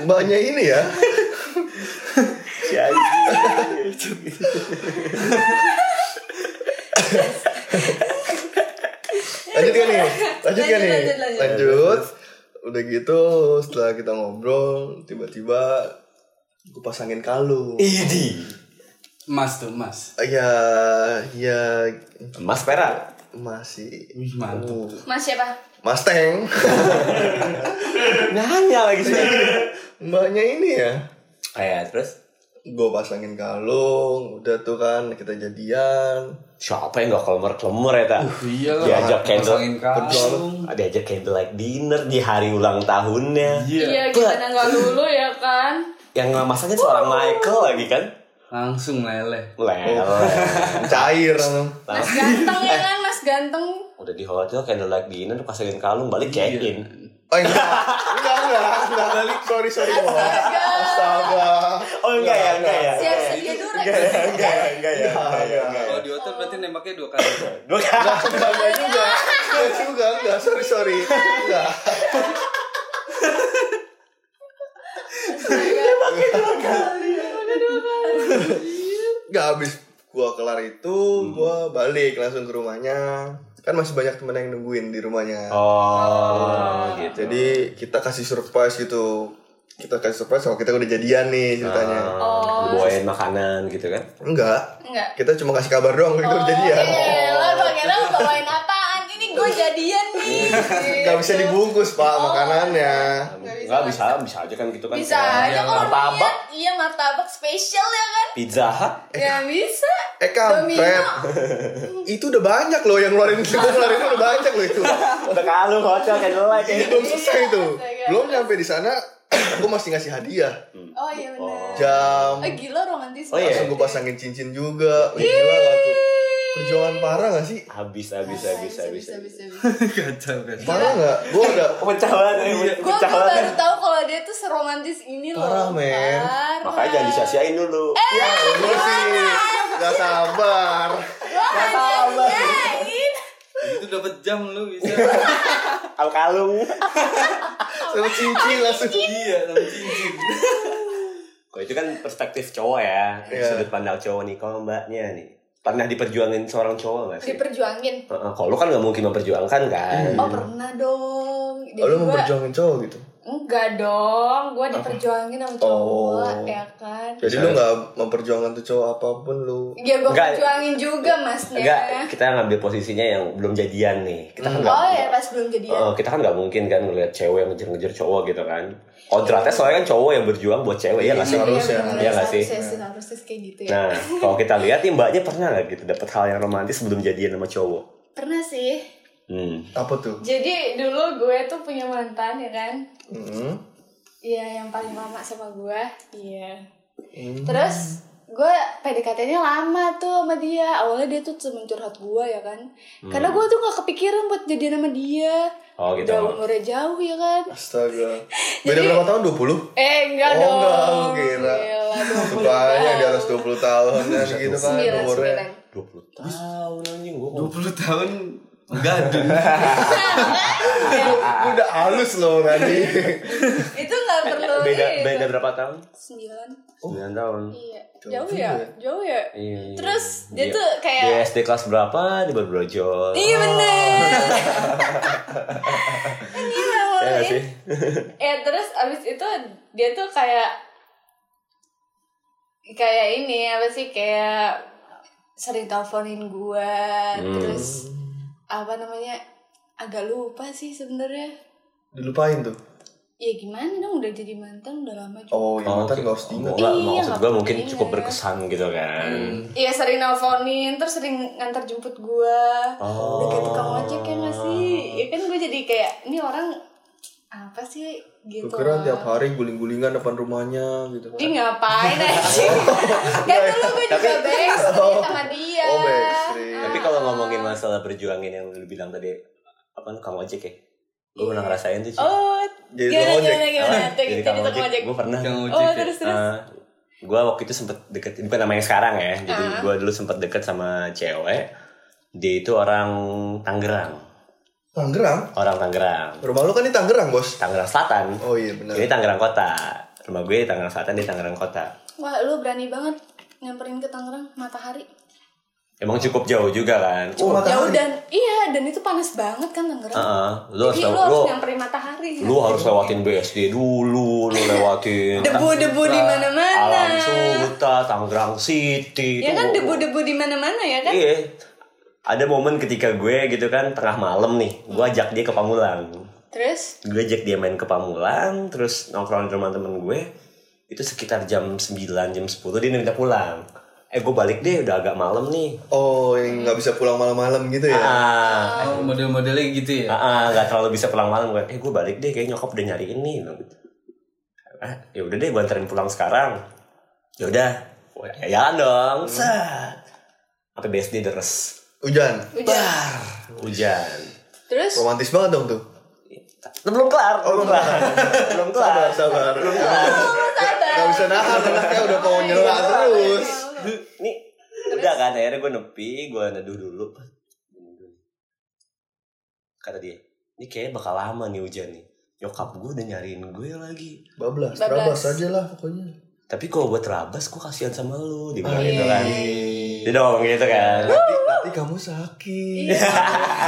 [SPEAKER 2] Mbaknya ini ya,
[SPEAKER 1] si anjing
[SPEAKER 2] lanjut gak nih? Lanjut gak nih?
[SPEAKER 3] Lanjut, lanjut, lanjut.
[SPEAKER 2] Lanjut. Udah gitu, setelah kita ngobrol, tiba-tiba gue pasangin kalung.
[SPEAKER 1] Idi.
[SPEAKER 4] Emas tuh, emas.
[SPEAKER 2] Ya, ya
[SPEAKER 1] Mas Pera.
[SPEAKER 2] masih.
[SPEAKER 4] Wih, mantap.
[SPEAKER 2] Uh,
[SPEAKER 3] Mas siapa?
[SPEAKER 2] Mas Teng,
[SPEAKER 1] Nanya lagi sih.
[SPEAKER 2] mbaknya ini ya.
[SPEAKER 1] Kayak terus
[SPEAKER 2] Gue pasangin kalung, udah tuh kan kita jadian.
[SPEAKER 1] siapa yang gak kelemar-kelemar ya tak?
[SPEAKER 4] Iya lah.
[SPEAKER 1] Diajak candle.
[SPEAKER 4] pasangin kalung.
[SPEAKER 1] Diajak candlelight dinner di hari ulang tahunnya.
[SPEAKER 4] Iya.
[SPEAKER 3] Iya, gimana nggak lulu ya kan?
[SPEAKER 1] Yang masanya seorang Michael lagi kan?
[SPEAKER 4] Langsung leleh.
[SPEAKER 1] Lele.
[SPEAKER 2] Oh, Cair. Oh,
[SPEAKER 1] Nah,
[SPEAKER 3] Mas ganteng ya kan, Mas ganteng.
[SPEAKER 1] udah di hotel candlelight dinner pasangin kalung balik
[SPEAKER 4] Iya.
[SPEAKER 1] check in.
[SPEAKER 2] Oh enggak, enggak, enggak, enggak. Balik, sorry, sorry. Mbak. Astaga.
[SPEAKER 1] Oh enggak ya, enggak ya.
[SPEAKER 3] Siap sedia durex.
[SPEAKER 1] Enggak ya, enggak
[SPEAKER 4] Iya,
[SPEAKER 1] ya. enggak ya, enggak ya.
[SPEAKER 4] Kalau di hotel berarti nembaknya dua kali.
[SPEAKER 1] Dua kali.
[SPEAKER 2] Enggak, enggak juga. Enggak juga, enggak. Sorry, sorry. Enggak. Enggak habis gua kelar itu, gua balik langsung ke rumahnya. Kan masih banyak temen yang nungguin di rumahnya.
[SPEAKER 1] Oh, gitu.
[SPEAKER 2] Jadi kita kasih surprise gitu. Kita kasih surprise kalau kita udah jadian nih ceritanya.
[SPEAKER 1] Oh, bawain makanan gitu kan?
[SPEAKER 2] Enggak.
[SPEAKER 3] Enggak.
[SPEAKER 2] Kita cuma kasih kabar ya. doang
[SPEAKER 3] Oh, iya.
[SPEAKER 2] kalau kita udah jadian.
[SPEAKER 3] Oke, lo gua kira lu bawain apaan? Ini gue jadian nih.
[SPEAKER 2] Enggak nggak bisa dibungkus pak
[SPEAKER 3] Oh.
[SPEAKER 2] makanannya
[SPEAKER 3] Nggak bisa.
[SPEAKER 1] Nggak bisa, bisa aja kan gitu kan.
[SPEAKER 3] Bisa
[SPEAKER 1] kayak
[SPEAKER 3] aja kalau
[SPEAKER 1] martabak,
[SPEAKER 3] martabak. Iya martabak spesial ya kan?
[SPEAKER 1] pizza <laughs> hut.
[SPEAKER 3] Ya bisa.
[SPEAKER 2] eh kampret itu udah banyak loh yang ngeluarin kita ngeluarin udah banyak loh itu
[SPEAKER 1] Udah kalu hotel kayak jelek
[SPEAKER 2] Ini
[SPEAKER 3] Iya.
[SPEAKER 1] kayak
[SPEAKER 2] belum selesai itu
[SPEAKER 3] Astaga.
[SPEAKER 2] belum nyampe di sana <clears throat> gue masih ngasih hadiah
[SPEAKER 3] Oh iya benar.
[SPEAKER 2] jam
[SPEAKER 3] Eh gila romantis.
[SPEAKER 1] Oh, iya.
[SPEAKER 3] banget
[SPEAKER 2] langsung gue
[SPEAKER 3] ya.
[SPEAKER 2] pasangin cincin juga Wih, gila gak tuh perjuangan parah gak sih
[SPEAKER 1] Habis, habis,
[SPEAKER 3] Ah,
[SPEAKER 1] habis, habis.
[SPEAKER 3] bisa, bisa, bisa.
[SPEAKER 4] <laughs> <laughs> Kacau kan.
[SPEAKER 2] parah gak gue udah
[SPEAKER 1] Pecah banget, eh,
[SPEAKER 3] Gue
[SPEAKER 1] pecah banget.
[SPEAKER 3] baru tahu kalau dia tuh seromantis ini loh.
[SPEAKER 2] Parah, men.
[SPEAKER 3] Parah.
[SPEAKER 1] Makanya jangan disia-siain dulu.
[SPEAKER 3] Eh.
[SPEAKER 2] ya gue sih gak sabar
[SPEAKER 3] Wah,
[SPEAKER 1] sabar.
[SPEAKER 3] nyanyain.
[SPEAKER 4] Itu dapat jam lu bisa.
[SPEAKER 1] Al kalung.
[SPEAKER 2] sama cincin langsung
[SPEAKER 4] iya, sama cincin.
[SPEAKER 1] Kalau itu kan perspektif cowok ya, dari
[SPEAKER 2] Iya.
[SPEAKER 1] sudut pandang cowok nih. Kalau mbaknya nih, pernah diperjuangin seorang cowok gak sih?
[SPEAKER 3] Diperjuangin.
[SPEAKER 1] Heeh, Kalau lu kan gak mungkin memperjuangkan kan.
[SPEAKER 3] Oh pernah dong. Jadi
[SPEAKER 2] Oh, lu
[SPEAKER 3] gua-
[SPEAKER 2] memperjuangin cowok gitu
[SPEAKER 3] Enggak dong, gue diperjuangin sama cowok
[SPEAKER 2] Oh.
[SPEAKER 3] ya kan.
[SPEAKER 2] jadi lu gak memperjuangkan tuh cowok apapun lu
[SPEAKER 3] Ya gue
[SPEAKER 1] Enggak.
[SPEAKER 3] perjuangin juga masnya.
[SPEAKER 1] Enggak, kita ngambil posisinya yang belum jadian nih. Kita kan nggak
[SPEAKER 3] Oh ya pas belum jadian.
[SPEAKER 1] Heeh, kita kan nggak mungkin kan ngelihat cewek yang ngejar-ngejar cowok gitu kan. Kontraknya soalnya kan cowok yang berjuang buat cewek ya nggak sih?
[SPEAKER 3] Iya,
[SPEAKER 2] Harusnya.
[SPEAKER 3] bener-bener.
[SPEAKER 1] Iya nggak sih?
[SPEAKER 3] Harusnya sih, harusnya sih kayak gitu ya.
[SPEAKER 1] Nah, kalau kita lihat nih mbaknya pernah nggak gitu dapat hal yang romantis sebelum jadian sama cowok?
[SPEAKER 3] Pernah sih.
[SPEAKER 1] Hmm.
[SPEAKER 2] apa tuh
[SPEAKER 3] Jadi dulu gue tuh punya mantan ya kan.
[SPEAKER 2] Hmm.
[SPEAKER 3] Iya yang paling lama sama gue. Iya.
[SPEAKER 1] Hmm.
[SPEAKER 3] Terus gue PDKT-nya lama tuh sama dia. Awalnya dia tuh cuma curhat gue ya kan. Karena gue tuh gak kepikiran buat jadian sama dia.
[SPEAKER 1] Hmm. Oh gitu.
[SPEAKER 3] Udah umurnya jauh ya kan.
[SPEAKER 2] Astaga. Beda berapa tahun? 20?
[SPEAKER 3] Eh enggak
[SPEAKER 2] Oh,
[SPEAKER 3] dong.
[SPEAKER 2] enggak, aku kira. Banyak di atas 20 tahun dan gitu kan
[SPEAKER 3] Sembilan,
[SPEAKER 2] umurnya.
[SPEAKER 3] sembilan.
[SPEAKER 1] 20 tahun anjing gua.
[SPEAKER 4] 20 tahun gadun.
[SPEAKER 2] Gua Ah, udah halus loh tadi.
[SPEAKER 3] <laughs> Itu enggak perlu
[SPEAKER 1] Beda
[SPEAKER 3] ini.
[SPEAKER 1] beda berapa tahun?
[SPEAKER 3] Oh. Sembilan.
[SPEAKER 1] 9 tahun.
[SPEAKER 3] Iya.
[SPEAKER 2] Jauh
[SPEAKER 3] Jauh
[SPEAKER 2] juga
[SPEAKER 3] ya?
[SPEAKER 2] ya.
[SPEAKER 3] Jauh ya?
[SPEAKER 1] Iya. iya.
[SPEAKER 3] Terus dia
[SPEAKER 1] Iya.
[SPEAKER 3] tuh
[SPEAKER 1] Dia
[SPEAKER 3] kayak
[SPEAKER 1] SD kelas berapa di Barbrojol?
[SPEAKER 3] Iya bener <laughs> Kan
[SPEAKER 1] Ya
[SPEAKER 3] Iya
[SPEAKER 1] nggak
[SPEAKER 3] awalnya.
[SPEAKER 1] sih?
[SPEAKER 3] Eh terus abis itu dia tuh kayak Kayak ini apa sih kayak sering teleponin gua
[SPEAKER 1] Hmm.
[SPEAKER 3] terus apa namanya agak lupa sih sebenarnya
[SPEAKER 2] <laughs> Dilupain tuh.
[SPEAKER 3] ya gimana dong udah jadi mantan udah lama juga
[SPEAKER 2] Oh, ya mantan gak harus diingat.
[SPEAKER 1] Enggak,
[SPEAKER 3] Iya,
[SPEAKER 1] maksud gua
[SPEAKER 3] nggak perlu
[SPEAKER 1] mungkin
[SPEAKER 3] diingat.
[SPEAKER 1] cukup berkesan gitu kan.
[SPEAKER 3] Iya sering nelponin terus sering ngantar jemput gua
[SPEAKER 1] Oh.
[SPEAKER 3] udah kayak tukang ojek ya nggak sih ya kan gue jadi kayak ini orang apa sih gitu
[SPEAKER 2] Gue kira
[SPEAKER 3] loh.
[SPEAKER 2] tiap hari guling-gulingan depan rumahnya gitu.
[SPEAKER 3] dia ngapain
[SPEAKER 2] <laughs>
[SPEAKER 3] aja kan dulu gue juga backstreet sama dia
[SPEAKER 2] Oh, backstreet.
[SPEAKER 3] Ah.
[SPEAKER 1] Tapi kalau ngomongin masalah berjuangin yang lu bilang tadi apa kamu ojek ya? Gue pernah ngerasain tuh sih.
[SPEAKER 3] oh
[SPEAKER 2] Jadi
[SPEAKER 3] gimana
[SPEAKER 2] tukang
[SPEAKER 3] gimana
[SPEAKER 2] ojek.
[SPEAKER 3] gimana
[SPEAKER 1] Ah,
[SPEAKER 3] tuh gitu jadi tukang ojek
[SPEAKER 1] Gue pernah.
[SPEAKER 4] Tukang ojek.
[SPEAKER 3] oh
[SPEAKER 4] ya.
[SPEAKER 3] terus
[SPEAKER 1] Ah.
[SPEAKER 3] terus
[SPEAKER 1] gue Eh, waktu itu sempet deket bukan namanya sekarang ya. Jadi
[SPEAKER 3] Ah.
[SPEAKER 1] gue dulu sempet deket sama cewek. Dia itu orang Tangerang,
[SPEAKER 2] Tangerang?
[SPEAKER 1] orang Tangerang,
[SPEAKER 2] Rumah lu kan di Tangerang, Bos.
[SPEAKER 1] Tangerang Selatan.
[SPEAKER 2] Oh iya benar.
[SPEAKER 1] Ini Tangerang Kota. Rumah gue di Tangerang Selatan di Tangerang Kota.
[SPEAKER 3] wah lu berani banget nyamperin ke Tangerang matahari
[SPEAKER 1] Emang cukup jauh juga kan.
[SPEAKER 2] Cuma matahari.
[SPEAKER 3] jauh dan iya dan itu panas banget kan Tangerang
[SPEAKER 1] Heeh, lu harus
[SPEAKER 3] jadi lu
[SPEAKER 1] lew-
[SPEAKER 3] harus
[SPEAKER 1] Ah, lu,
[SPEAKER 3] nyamperin matahari
[SPEAKER 1] lu harus lewatin BSD dulu, lu lewatin
[SPEAKER 3] debu-debu di mana-mana
[SPEAKER 1] Alam Suta, Tangerang City.
[SPEAKER 3] ya
[SPEAKER 1] itu
[SPEAKER 3] kan debu-debu di mana-mana ya kan
[SPEAKER 1] Iya. Ada momen ketika gue gitu kan tengah malam nih, gue ajak dia ke Pamulang.
[SPEAKER 3] terus
[SPEAKER 1] Gue ajak dia main ke Pamulang, terus nongkrong di rumah temen gue. Itu sekitar jam 9, jam 10 dia minta pulang. Eh gue balik deh udah agak malam nih.
[SPEAKER 2] Oh, yang nggak bisa pulang malam-malam gitu ya.
[SPEAKER 1] Ah,
[SPEAKER 4] Oh, model-modelnya gitu ya.
[SPEAKER 1] ah, ah, nggak terlalu bisa pulang malam gue. Eh gue balik deh, kayak nyokap udah nyariin nih. bilang gitu. Ah, ya udah deh gue anterin pulang sekarang. Ya udah, Wah, jalan dong. Set. Sampai BSD deres.
[SPEAKER 2] Hujan.
[SPEAKER 3] hujan
[SPEAKER 1] Hujan.
[SPEAKER 3] terus
[SPEAKER 2] Romantis banget dong tuh.
[SPEAKER 1] belum kelar, Oh, belum kelar, <laughs> belum kelar.
[SPEAKER 2] Sabar, sabar. Gak bisa nahan anaknya udah mau nyela
[SPEAKER 3] Iya.
[SPEAKER 2] terus.
[SPEAKER 1] <laughs> Nih, udah kan akhirnya gue nepi, gue neduh dulu. Kata dia, ini kayaknya bakal lama nih hujan nih. Nyokap gue udah nyariin gue lagi.
[SPEAKER 2] Bablas,
[SPEAKER 3] Bablas.
[SPEAKER 2] terabas aja lah pokoknya.
[SPEAKER 1] Tapi kalau buat terabas, gue kasihan sama lu. Dia bilang
[SPEAKER 2] Iya.
[SPEAKER 1] gitu kan. Dia dong gitu kan.
[SPEAKER 2] Nanti, nanti kamu sakit.
[SPEAKER 3] Iya.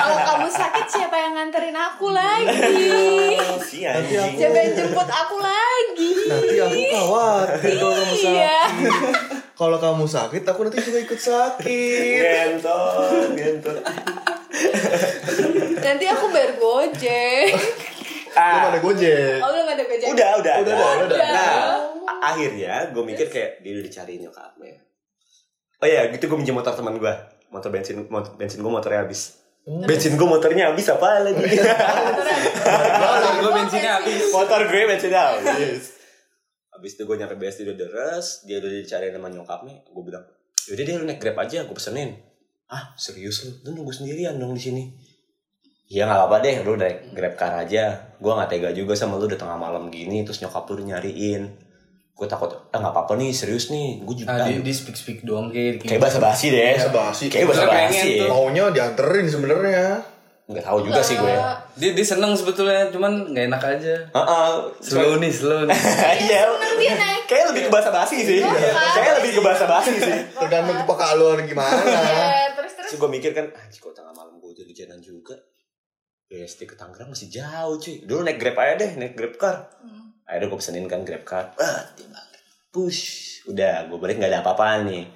[SPEAKER 3] kalau kamu sakit siapa yang nganterin aku lagi
[SPEAKER 1] Si anjing.
[SPEAKER 3] siapa yang jemput aku lagi
[SPEAKER 2] Nanti aku khawatir kalau kamu sakit.
[SPEAKER 3] iya
[SPEAKER 2] Kalau kamu sakit, aku
[SPEAKER 1] Iya.
[SPEAKER 2] nanti juga ikut sakit.
[SPEAKER 1] Gentot, gentot.
[SPEAKER 3] nah nanti aku bayar gojek
[SPEAKER 2] Belum
[SPEAKER 1] Ah,
[SPEAKER 2] ada gojek.
[SPEAKER 3] oh belum ada gojek
[SPEAKER 1] udah, udah,
[SPEAKER 2] Udah,
[SPEAKER 1] ada.
[SPEAKER 2] udah, udah.
[SPEAKER 1] Nah, a- akhirnya gue mikir kayak dia udah dicariin nyokapnya. Oh iya, gitu gue minjem motor teman gue. Motor bensin, motor, bensin gue motornya habis.
[SPEAKER 2] Hmm.
[SPEAKER 1] Bensin gue motornya habis apa
[SPEAKER 2] <laughs>
[SPEAKER 1] lagi?
[SPEAKER 4] Motor gue
[SPEAKER 3] Oh,
[SPEAKER 4] bensinnya habis.
[SPEAKER 1] motor gue
[SPEAKER 4] <laughs>
[SPEAKER 1] bensinnya habis. Habis itu gue nyampe BSD udah deres, dia udah dicariin sama nyokapnya. Gue bilang, yaudah deh lu naik grab aja, gue pesenin. Ah serius lu? Lu nunggu sendirian dong di sini. Iya nggak apa-apa deh, lu naik grab car aja. Gue nggak tega juga sama lu udah tengah malam gini, terus nyokap lu udah nyariin. Gue takut, ah nggak apa-apa nih, serius nih. Gue juga
[SPEAKER 4] Ah, dia, dia speak speak doang kayak gitu.
[SPEAKER 1] kayak bahasa basi deh.
[SPEAKER 2] Bahasa basi.
[SPEAKER 1] Kayak bahasa
[SPEAKER 4] Gue Iya, pengen
[SPEAKER 1] basi.
[SPEAKER 4] tuh.
[SPEAKER 2] Maunya dianterin sebenarnya.
[SPEAKER 1] Nggak tahu juga sih gue.
[SPEAKER 3] Enggak.
[SPEAKER 4] Dia, dia seneng sebetulnya, cuman nggak enak aja.
[SPEAKER 1] Heeh.
[SPEAKER 4] Slow nih, slow nih.
[SPEAKER 1] Iya.
[SPEAKER 3] Seneng kan dia naik
[SPEAKER 1] Kayaknya lebih ke bahasa basi sih.
[SPEAKER 3] Iya.
[SPEAKER 1] Kayaknya lebih ke bahasa basi sih.
[SPEAKER 2] Tergantung kepekaluan gimana.
[SPEAKER 3] Ya, terus terus
[SPEAKER 1] Terus gue mikir kan, ah kok tengah malam gue udah di jalan juga. BSD ke Tangerang masih jauh cuy. Dulu naik Grab aja deh, naik Grab car.
[SPEAKER 3] Hmm.
[SPEAKER 1] Akhirnya gue pesenin kan Grab car. Ah, tiba. Push. Udah, gue balik gak ada apa-apaan nih.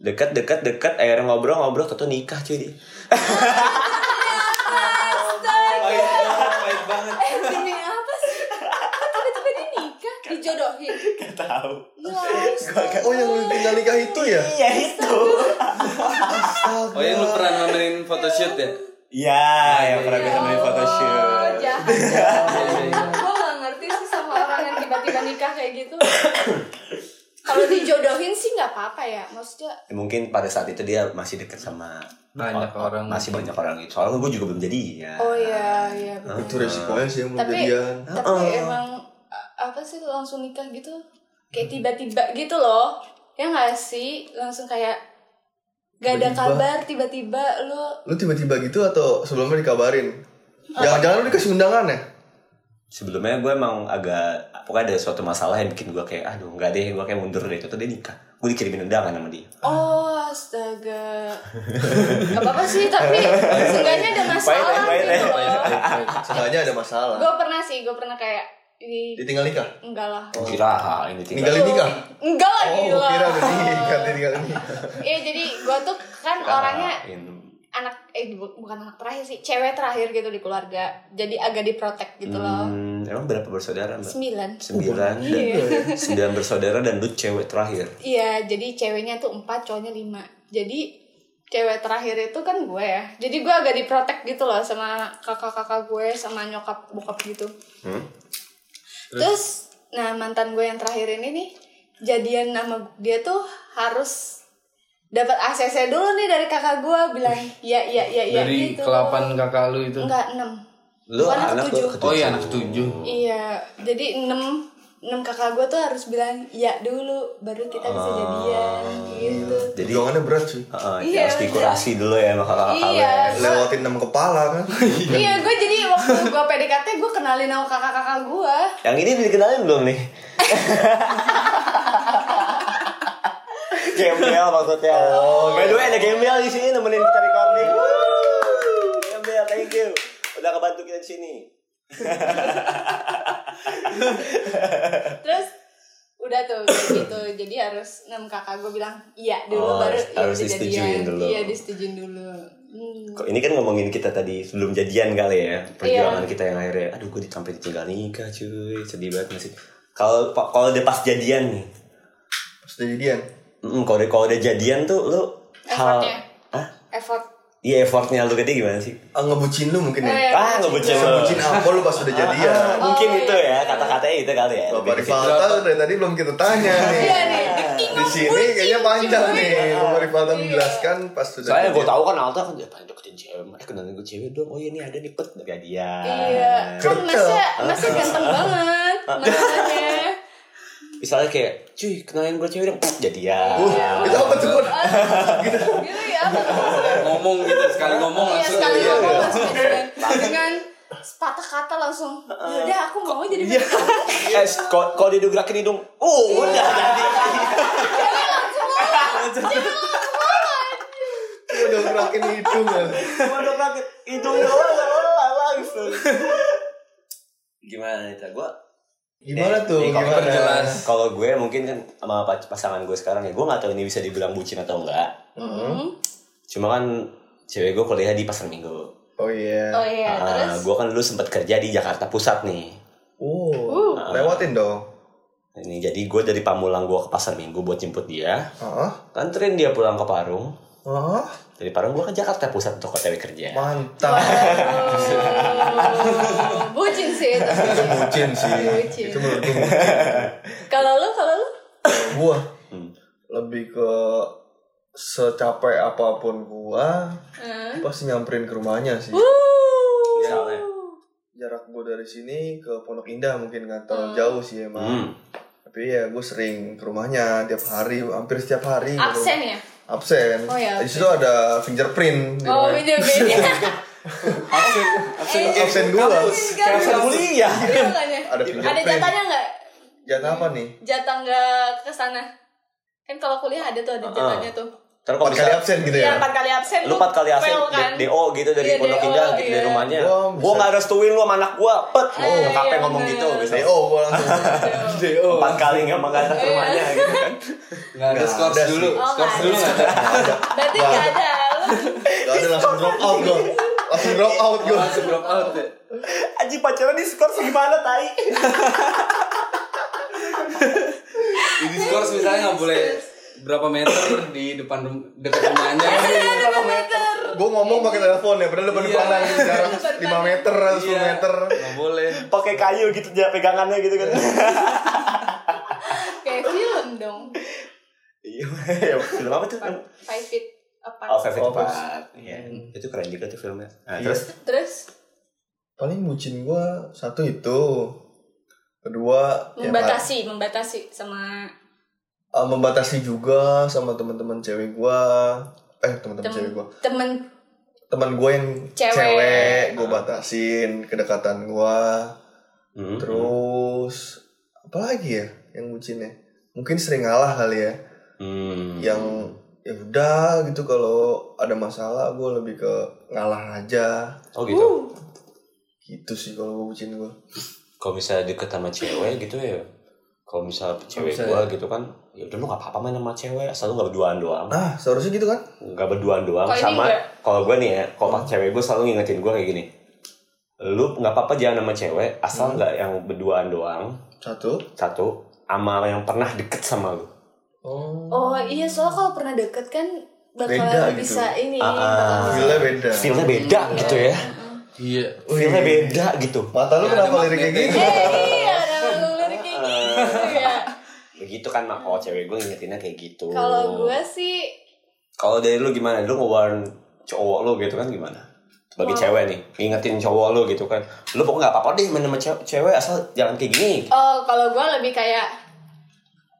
[SPEAKER 1] Dekat, dekat, dekat. Akhirnya ngobrol, ngobrol. Tentu nikah cuy dia.
[SPEAKER 4] Pahit banget, pahit banget.
[SPEAKER 3] eh demi apa sih Kok tiba-tiba dia nikah dijodohin
[SPEAKER 1] Gak tau.
[SPEAKER 3] ya astaga.
[SPEAKER 2] Oh yang lu tinggal nikah itu ya?
[SPEAKER 1] Iya itu.
[SPEAKER 4] <laughs> Oh yang lu pernah ngamenin photoshoot ya?
[SPEAKER 1] Iya, yang pernah gue temenin
[SPEAKER 3] Oh,
[SPEAKER 1] photoshoot.
[SPEAKER 3] Ya jahat gue gak ngerti sih sama orang yang tiba-tiba nikah kayak gitu kalau dijodohin sih nggak apa-apa ya maksudnya
[SPEAKER 1] Mungkin pada saat itu dia masih deket sama
[SPEAKER 4] Banyak orang.
[SPEAKER 1] masih banyak orang itu. Soalnya gue juga belum jadi ya.
[SPEAKER 3] oh iya iya betul.
[SPEAKER 2] Itu resikonya sih yang belum
[SPEAKER 3] tapi
[SPEAKER 2] jadian.
[SPEAKER 3] tapi emang a- apa sih langsung nikah gitu kayak tiba-tiba gitu loh ya nggak sih langsung kayak gak ada
[SPEAKER 2] Tiba-tiba.
[SPEAKER 3] kabar tiba-tiba lu
[SPEAKER 2] Lu tiba-tiba gitu atau sebelumnya dikabarin? Jangan-jangan lu dikasih undangan ya?
[SPEAKER 1] sebelumnya gue emang agak pokoknya ada suatu masalah yang bikin gue kayak aduh nggak deh gue kayak mundur deh itu dia nikah gue dikirimin undangan sama dia
[SPEAKER 2] Ah.
[SPEAKER 3] oh astaga gak apa-apa sih tapi seenggaknya ada masalah
[SPEAKER 1] Pahit, pahit,
[SPEAKER 3] gitu
[SPEAKER 4] Pahit,
[SPEAKER 3] loh
[SPEAKER 4] pahit, pahit.
[SPEAKER 2] Seenggaknya ada masalah.
[SPEAKER 3] gue pernah sih gue pernah kayak ini
[SPEAKER 2] Ditinggal nikah?
[SPEAKER 3] enggak lah
[SPEAKER 4] Oh.
[SPEAKER 1] kira ah, ini tinggal
[SPEAKER 2] Ninggalin nikah?
[SPEAKER 3] enggak lah
[SPEAKER 2] Oh,
[SPEAKER 3] gila
[SPEAKER 2] kira udah nikah, ditinggal nikah.
[SPEAKER 3] iya jadi gue tuh kan orangnya
[SPEAKER 1] Ah, in-
[SPEAKER 3] anak eh bu- bukan anak terakhir sih cewek terakhir gitu di keluarga jadi agak diprotek gitu loh
[SPEAKER 1] Hmm, emang berapa bersaudara mbak
[SPEAKER 3] sembilan
[SPEAKER 1] sembilan
[SPEAKER 4] Iya,
[SPEAKER 1] dan sembilan bersaudara dan lu cewek terakhir
[SPEAKER 3] iya jadi ceweknya tuh empat cowoknya lima jadi cewek terakhir itu kan gue ya jadi gue agak diprotek gitu loh sama kakak-kakak gue sama nyokap bokap gitu
[SPEAKER 1] Hmm?
[SPEAKER 3] terus nah mantan gue yang terakhir ini nih jadian nama dia tuh harus dapat ACC dulu nih dari kakak gue bilang ya ya ya ya
[SPEAKER 4] Dari
[SPEAKER 3] gitu
[SPEAKER 4] kelapan kakak lu itu.
[SPEAKER 3] enggak enam
[SPEAKER 1] lu
[SPEAKER 3] Gua anak
[SPEAKER 1] anak
[SPEAKER 3] ketujuh.
[SPEAKER 1] lu
[SPEAKER 4] Oh iya anak ketujuh.
[SPEAKER 3] Iya, jadi 6 6 kakak gue tuh harus bilang iya dulu baru kita bisa jadian gitu.
[SPEAKER 1] jadi
[SPEAKER 2] Perjuangannya berat sih.
[SPEAKER 1] Heeh,
[SPEAKER 3] Iya,
[SPEAKER 1] harus dikurasi dulu ya sama kakak kakak
[SPEAKER 3] Iya.
[SPEAKER 2] Lewatin enam kepala kan?
[SPEAKER 3] iya, gue jadi waktu gue PDKT gue kenalin sama kakak-kakak gue.
[SPEAKER 1] yang ini udah dikenalin belum nih Gembel maksudnya. Oh, By the
[SPEAKER 3] iya.
[SPEAKER 1] way ada Gembel di sini nemenin kita recording. Woo! Gembel, thank you. Udah kebantu kita di sini.
[SPEAKER 3] Terus udah tuh kayak gitu. Jadi harus 6 kakak gue bilang iya dulu
[SPEAKER 1] Oh,
[SPEAKER 3] baru
[SPEAKER 1] harus-
[SPEAKER 3] iya
[SPEAKER 1] harus
[SPEAKER 3] bisa
[SPEAKER 1] disetujuin dulu.
[SPEAKER 3] Iya, disetujuin dulu. Hmm.
[SPEAKER 1] Kok ini kan ngomongin kita tadi sebelum jadian kali ya
[SPEAKER 3] Iya.
[SPEAKER 1] perjuangan kita yang akhirnya aduh gue sampai ditinggal nikah cuy sedih banget masih kalau kalau udah pas jadian nih
[SPEAKER 2] Pas udah jadian.
[SPEAKER 1] mm, kalau udah kalau udah jadian tuh lu hal
[SPEAKER 3] Effortnya.
[SPEAKER 1] ah
[SPEAKER 3] Effort.
[SPEAKER 1] iya effortnya lu gede gimana sih
[SPEAKER 2] Ah, ngebucin lu mungkin ya?
[SPEAKER 3] Eh,
[SPEAKER 1] ah nggak bocor
[SPEAKER 2] Ngebucin
[SPEAKER 3] <laughs>
[SPEAKER 2] apa lu pas udah
[SPEAKER 1] Ah,
[SPEAKER 2] jadian?
[SPEAKER 1] mungkin
[SPEAKER 3] Oh,
[SPEAKER 1] itu
[SPEAKER 3] iya.
[SPEAKER 1] ya kata-katanya itu kali ya
[SPEAKER 2] Bapak
[SPEAKER 1] Lebih-
[SPEAKER 2] Rivalta dari tadi belum kita tanya nih.
[SPEAKER 3] ah. Iya Ah, nih, the king
[SPEAKER 2] Di
[SPEAKER 3] of
[SPEAKER 2] sini
[SPEAKER 3] bucin,
[SPEAKER 2] kayaknya panjang
[SPEAKER 3] cuy.
[SPEAKER 2] nih. Bapak Rivalta
[SPEAKER 3] Iya.
[SPEAKER 2] menjelaskan pas sudah
[SPEAKER 1] Soalnya gue
[SPEAKER 2] jadian.
[SPEAKER 1] tau kan Alta kan dia pengen deketin cewek, eh kenalin gue cewek dong, oh iya nih ada nih pet dari dia.
[SPEAKER 3] Iya, kan
[SPEAKER 2] Kerja.
[SPEAKER 3] masnya masnya ganteng banget. Makanya.
[SPEAKER 1] Misalnya kayak, cuy kenalin gue cewek dong, pet jadi ya.
[SPEAKER 3] Iya,
[SPEAKER 2] Uh, itu apa tuh? Kun?
[SPEAKER 3] Gitu ya.
[SPEAKER 4] Ngomong gitu sekali ngomong
[SPEAKER 3] Iya
[SPEAKER 4] langsung.
[SPEAKER 3] sekali
[SPEAKER 4] Iya,
[SPEAKER 3] ngomong
[SPEAKER 4] iya.
[SPEAKER 3] langsung dengan dengan sepatah kata langsung. Yaudah aku mau jadi pacar."
[SPEAKER 1] Eh, kalau kalau dia udah gerakin hidung, uh udah jadi.
[SPEAKER 3] Cewek Iya, langsung ngomong. Cewek langsung ngomong.
[SPEAKER 2] Lu udah ngerakin hidung ya.
[SPEAKER 1] Gue udah gerakin hidung doang, doang, langsung. Gimana nih, gue
[SPEAKER 2] Gimana tuh?
[SPEAKER 1] Nih, kalau
[SPEAKER 2] Gimana?
[SPEAKER 4] perjelas.
[SPEAKER 1] iya, kalau gue mungkin kan sama pac- pasangan gue sekarang ya gue nggak tahu ini bisa
[SPEAKER 2] Mm-hmm.
[SPEAKER 3] Mm-hmm.
[SPEAKER 1] dibilang bucin atau enggak
[SPEAKER 3] Mm-mm.
[SPEAKER 1] cuma kan cewek gue kuliah di pasar minggu
[SPEAKER 2] Oh iya.
[SPEAKER 3] Oh iya, terus
[SPEAKER 1] gue kan dulu sempat kerja di Jakarta Pusat nih.
[SPEAKER 2] Oh,
[SPEAKER 3] Uh.
[SPEAKER 2] lewatin dong.
[SPEAKER 1] Ini jadi gue dari Pamulang gue ke Pasar Minggu buat jemput dia.
[SPEAKER 2] Ah,
[SPEAKER 1] Kanterin dia pulang ke Parung.
[SPEAKER 2] ah,
[SPEAKER 1] Dari Parung gue ke Jakarta Pusat untuk OTW kerja.
[SPEAKER 2] mantap.
[SPEAKER 3] Waduh. bucin sih itu.
[SPEAKER 2] Itu bucin sih.
[SPEAKER 3] Bucin.
[SPEAKER 2] Itu menurut gue bucin.
[SPEAKER 3] Kalau lu, kalau lu?
[SPEAKER 2] Gua
[SPEAKER 1] Hmm.
[SPEAKER 2] lebih ke secapek apapun gua
[SPEAKER 3] Hmm.
[SPEAKER 2] pasti nyamperin ke rumahnya sih.
[SPEAKER 3] Uh. Wuh.
[SPEAKER 1] Misalnya.
[SPEAKER 2] Jarak gua dari sini ke Pondok Indah mungkin nggak terlalu
[SPEAKER 3] Hmm.
[SPEAKER 2] jauh sih emang.
[SPEAKER 1] Hmm.
[SPEAKER 2] Tapi ya gue sering ke rumahnya tiap hari, hampir setiap hari. gua-
[SPEAKER 3] Absen ya?
[SPEAKER 2] Absen.
[SPEAKER 3] Oh, iya,
[SPEAKER 2] Di situ ada fingerprint. di
[SPEAKER 3] Oh,
[SPEAKER 2] rumahnya.
[SPEAKER 3] video beda.
[SPEAKER 4] Absen, absen,
[SPEAKER 3] Eh,
[SPEAKER 2] Absen gua.
[SPEAKER 1] Kayak asal kuliah.
[SPEAKER 3] Iya kan ya?
[SPEAKER 2] Ada
[SPEAKER 3] Ada
[SPEAKER 2] fingerprint.
[SPEAKER 3] jatahnya nggak?
[SPEAKER 2] Jatah apa nih?
[SPEAKER 3] Jatah nggak ke sana? Kan kalau kuliah ada tuh ada
[SPEAKER 1] Uh-uh.
[SPEAKER 3] jatahnya tuh.
[SPEAKER 1] Terus kalau
[SPEAKER 2] Empat kali
[SPEAKER 1] bisa
[SPEAKER 2] absen gitu
[SPEAKER 3] Iya,
[SPEAKER 2] ya?
[SPEAKER 3] empat kali absen.
[SPEAKER 1] lu empat kali absen
[SPEAKER 3] fail kan?
[SPEAKER 1] D- DO gitu dari
[SPEAKER 3] Iya,
[SPEAKER 1] Pondok
[SPEAKER 3] DO,
[SPEAKER 1] Indah gitu
[SPEAKER 3] iya.
[SPEAKER 1] dari rumahnya.
[SPEAKER 2] Gua
[SPEAKER 1] Gua
[SPEAKER 2] bisa-
[SPEAKER 1] nggak restuin lu sama anak gua. Pet. Oh,
[SPEAKER 3] Oh, iya,
[SPEAKER 1] ngomong
[SPEAKER 3] bener.
[SPEAKER 1] gitu bisa.
[SPEAKER 2] DO gua langsung. DO.
[SPEAKER 1] Empat kali nggak mau ngantar ke
[SPEAKER 3] Iya.
[SPEAKER 1] rumahnya gitu kan.
[SPEAKER 4] Nggak ada
[SPEAKER 2] Nggak
[SPEAKER 4] skors
[SPEAKER 2] ada sih.
[SPEAKER 4] dulu,
[SPEAKER 3] Oh,
[SPEAKER 4] skors
[SPEAKER 3] nggak
[SPEAKER 4] dulu
[SPEAKER 3] ada.
[SPEAKER 4] nggak ada.
[SPEAKER 3] Berarti nggak ada. Lu-
[SPEAKER 2] Gak ada langsung drop out gue Langsung drop out gue
[SPEAKER 4] Langsung drop out ya.
[SPEAKER 1] Aji pacaran di skor segimana tai?
[SPEAKER 4] Di skors misalnya nggak boleh berapa meter di depan rum- dekat rumahnya.
[SPEAKER 3] Iya. Berapa meter?
[SPEAKER 2] Gue ngomong pakai telepon ya Padahal depan
[SPEAKER 4] Iya.
[SPEAKER 2] depan lagi Jarak
[SPEAKER 3] <laughs> Depan
[SPEAKER 2] 5 meter 10
[SPEAKER 4] Iya,
[SPEAKER 2] meter
[SPEAKER 4] Nggak boleh.
[SPEAKER 1] Pakai kayu gitu dia pegangannya gitu kan.
[SPEAKER 3] Kayak film dong.
[SPEAKER 1] Iya. iya. Film apa tuh?
[SPEAKER 3] Five feet apart.
[SPEAKER 1] Oh, Favorite
[SPEAKER 2] Oh, Fave.
[SPEAKER 1] Part. Iya. Itu keren juga tuh filmnya. Nah, terus
[SPEAKER 3] Terus
[SPEAKER 2] Paling bucin gue Satu itu Kedua ya,
[SPEAKER 3] membatasi, membatasi sama
[SPEAKER 2] eh, Membatasi juga Sama teman-teman cewek gue Eh teman-teman cewek gue
[SPEAKER 3] temen, temen
[SPEAKER 2] Teman gue yang
[SPEAKER 3] Cewek.
[SPEAKER 2] cewek, Gue batasin Kedekatan gue
[SPEAKER 1] Hmm.
[SPEAKER 2] Terus Apalagi ya Yang bucinnya Mungkin sering ngalah kali ya
[SPEAKER 1] Hmm.
[SPEAKER 2] yang ya udah gitu kalau ada masalah gue lebih ke ngalah aja
[SPEAKER 1] Oh gitu.
[SPEAKER 3] Uh.
[SPEAKER 2] gitu sih kalau gue bucin gue
[SPEAKER 1] kalau misalnya deket sama cewek gitu ya kalau misalnya cewek
[SPEAKER 2] Bisa,
[SPEAKER 1] gua gitu kan ya udah lu gak apa-apa main sama cewek asal lu gak berduaan doang
[SPEAKER 2] ah seharusnya gitu kan
[SPEAKER 1] gak berduaan doang
[SPEAKER 3] Kalau ini
[SPEAKER 1] sama
[SPEAKER 3] enggak.
[SPEAKER 1] kalau gua nih ya kalau pas cewek gua selalu ngingetin gua kayak gini lu nggak apa-apa jangan sama cewek asal nggak yang berduaan doang
[SPEAKER 2] satu
[SPEAKER 1] satu sama yang pernah deket sama lu
[SPEAKER 2] oh
[SPEAKER 3] Oh iya, soalnya kalau pernah deket kan bakal
[SPEAKER 2] Beda gitu.
[SPEAKER 3] bisa
[SPEAKER 1] Ah,
[SPEAKER 3] ini.
[SPEAKER 1] ah.
[SPEAKER 3] bakal-
[SPEAKER 2] feelnya beda
[SPEAKER 1] feelnya beda
[SPEAKER 3] Hmm.
[SPEAKER 1] gitu ya
[SPEAKER 4] Iya.
[SPEAKER 1] feelnya beda
[SPEAKER 3] <laughs>
[SPEAKER 1] gitu
[SPEAKER 2] mata lu
[SPEAKER 4] Ya,
[SPEAKER 2] kenapa
[SPEAKER 4] ada
[SPEAKER 2] liriknya
[SPEAKER 4] magnetnya.
[SPEAKER 2] gitu
[SPEAKER 3] Eh, iya, ada lirik kayak gitu ya.
[SPEAKER 1] begitu kan mak kalau cewek gua ngingetinnya kayak gitu
[SPEAKER 3] Kalau gue sih
[SPEAKER 1] Kalau dari lu gimana? Lu ngewarn cowok lu gitu kan gimana? Bagi cewek nih, ngingetin cowok lu gitu kan. Lu pokoknya gak apa-apa deh main sama cewek, cewek asal jangan kayak gini.
[SPEAKER 3] Oh, kalau gue lebih kayak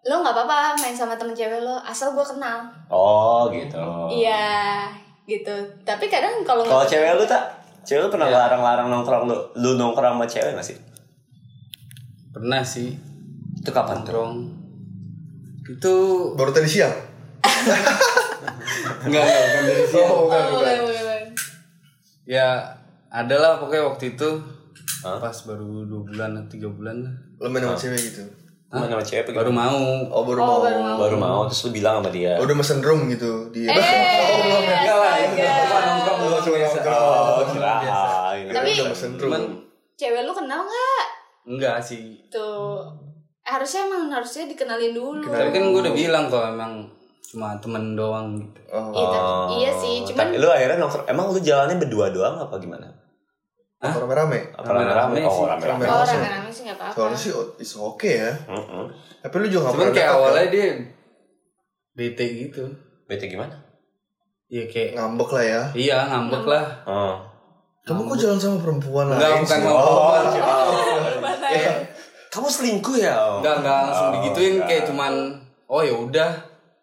[SPEAKER 3] lo nggak apa-apa main sama temen cewek lo asal gue kenal.
[SPEAKER 1] Oh gitu.
[SPEAKER 3] Iya, gitu. Tapi kadang kalau
[SPEAKER 1] Kalau
[SPEAKER 3] nggak-
[SPEAKER 1] cewek lu tak? Cewek lu pernah
[SPEAKER 3] Iya.
[SPEAKER 1] larang-larang nongkrong lu? Lu nongkrong sama cewek gak sih?
[SPEAKER 4] Pernah sih
[SPEAKER 1] Itu kapan tuh?
[SPEAKER 4] nongkrong. Itu
[SPEAKER 2] baru tadi siang
[SPEAKER 4] enggak enggak Iya, bukan dari
[SPEAKER 2] oh bukan
[SPEAKER 4] sini.
[SPEAKER 3] Oh,
[SPEAKER 2] bukan
[SPEAKER 3] boleh, boleh, boleh.
[SPEAKER 4] Ya, adalah pokoknya waktu itu
[SPEAKER 1] Hah?
[SPEAKER 4] pas baru dua bulan atau tiga bulan lah.
[SPEAKER 2] lu main
[SPEAKER 4] Oh.
[SPEAKER 2] sama cewek gitu
[SPEAKER 1] Main sama cewek apa
[SPEAKER 4] baru
[SPEAKER 1] gimana?
[SPEAKER 4] mau
[SPEAKER 2] oh baru
[SPEAKER 3] Oh,
[SPEAKER 2] mau Oh,
[SPEAKER 3] baru mau.
[SPEAKER 1] baru mau terus lu bilang sama dia.
[SPEAKER 2] udah mesen room gitu di <laughs>
[SPEAKER 3] Eh,
[SPEAKER 1] ya?
[SPEAKER 4] enggak lah
[SPEAKER 3] astaga.
[SPEAKER 4] nongkrong doang
[SPEAKER 2] Cuma
[SPEAKER 4] biasa.
[SPEAKER 2] nongkrong.
[SPEAKER 4] Iya,
[SPEAKER 1] Oh, kirain.
[SPEAKER 3] Tapi-
[SPEAKER 2] udah mesen
[SPEAKER 4] Cuman
[SPEAKER 2] room
[SPEAKER 3] Cewek lu kenal nggak?
[SPEAKER 4] enggak sih
[SPEAKER 3] Tuh. Harusnya emang harusnya dikenalin dulu.
[SPEAKER 2] Dikenalin.
[SPEAKER 4] tapi kan gue udah bilang kok emang cuma temen doang gitu
[SPEAKER 2] oh
[SPEAKER 3] Iya, tapi- iya sih, cuman
[SPEAKER 1] Tapi lu akhirnya nongkrong, emang lu jalannya berdua doang apa gimana?
[SPEAKER 2] rame-rame
[SPEAKER 1] Apa rame-rame?
[SPEAKER 4] Rame-rame sih.
[SPEAKER 1] Oh, rame-rame.
[SPEAKER 3] oh,
[SPEAKER 2] maksudnya.
[SPEAKER 3] rame-rame sih nggak apa-apa.
[SPEAKER 2] soalnya sih oh, it's okay ya
[SPEAKER 1] Heeh.
[SPEAKER 2] tapi lu juga gak
[SPEAKER 4] cuman
[SPEAKER 2] pernah
[SPEAKER 4] kayak
[SPEAKER 2] dekat,
[SPEAKER 4] awalnya
[SPEAKER 2] kan?
[SPEAKER 4] dia bete gitu
[SPEAKER 1] Bete gimana?
[SPEAKER 4] ya kayak
[SPEAKER 2] ngambek lah ya
[SPEAKER 4] iya ngambek lah
[SPEAKER 1] Oh.
[SPEAKER 2] kamu kok jalan sama perempuan Oh.
[SPEAKER 4] enggak
[SPEAKER 2] lain
[SPEAKER 4] bukan
[SPEAKER 2] sih?
[SPEAKER 4] ngambek doang.
[SPEAKER 3] iya.
[SPEAKER 2] Iya,
[SPEAKER 1] Kamu selingkuh ya? Om?
[SPEAKER 4] enggak enggak langsung
[SPEAKER 1] Oh,
[SPEAKER 4] digituin
[SPEAKER 1] enggak.
[SPEAKER 4] kayak cuman oh ya udah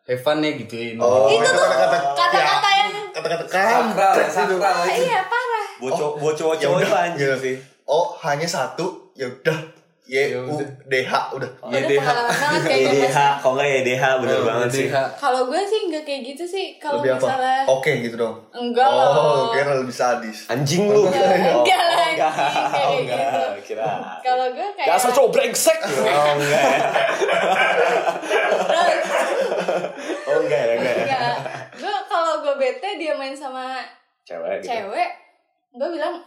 [SPEAKER 4] have fun ya gituin
[SPEAKER 2] Oh, itu
[SPEAKER 3] tuh
[SPEAKER 2] kata-kata Iya.
[SPEAKER 3] Kata-kata yang
[SPEAKER 2] kata-kata
[SPEAKER 4] sakral ya
[SPEAKER 2] kampret itu.
[SPEAKER 4] sakral aja
[SPEAKER 3] iya parah.
[SPEAKER 1] Buat cowok buat cowok
[SPEAKER 2] Ya
[SPEAKER 1] cowok
[SPEAKER 2] udah,
[SPEAKER 1] itu anjing
[SPEAKER 2] gitu.
[SPEAKER 1] sih.
[SPEAKER 2] Oh, hanya satu, ya udah. Y
[SPEAKER 4] Ya
[SPEAKER 2] U
[SPEAKER 4] udah.
[SPEAKER 2] D H udah.
[SPEAKER 3] Udah Oh, pengalaman
[SPEAKER 2] <laughs>
[SPEAKER 3] banget
[SPEAKER 2] Iya,
[SPEAKER 3] kayak gitu.
[SPEAKER 1] YDH, kalau nggak YDH
[SPEAKER 4] Oh,
[SPEAKER 1] bener banget sih.
[SPEAKER 3] Kalau gue sih nggak kayak gitu sih. Kalau
[SPEAKER 2] Lebih apa?
[SPEAKER 3] misalnya
[SPEAKER 2] Oke gitu dong.
[SPEAKER 3] enggak lah.
[SPEAKER 2] Oh, kira lebih sadis.
[SPEAKER 1] Anjing lu.
[SPEAKER 3] Enggak, enggak lah,
[SPEAKER 1] Oh, enggak.
[SPEAKER 3] anjing, kayak
[SPEAKER 1] Oh, enggak.
[SPEAKER 3] gitu.
[SPEAKER 1] Kira.
[SPEAKER 3] Kalau gue kayak
[SPEAKER 1] Dasar cowok brengsek. Oh enggak.
[SPEAKER 3] <laughs>
[SPEAKER 1] ya. Oh enggak ya, enggak. ya.
[SPEAKER 3] Enggak. Gue kalau gue bete dia main sama
[SPEAKER 2] Iya.
[SPEAKER 1] Cewek gitu.
[SPEAKER 3] cewek gue bilang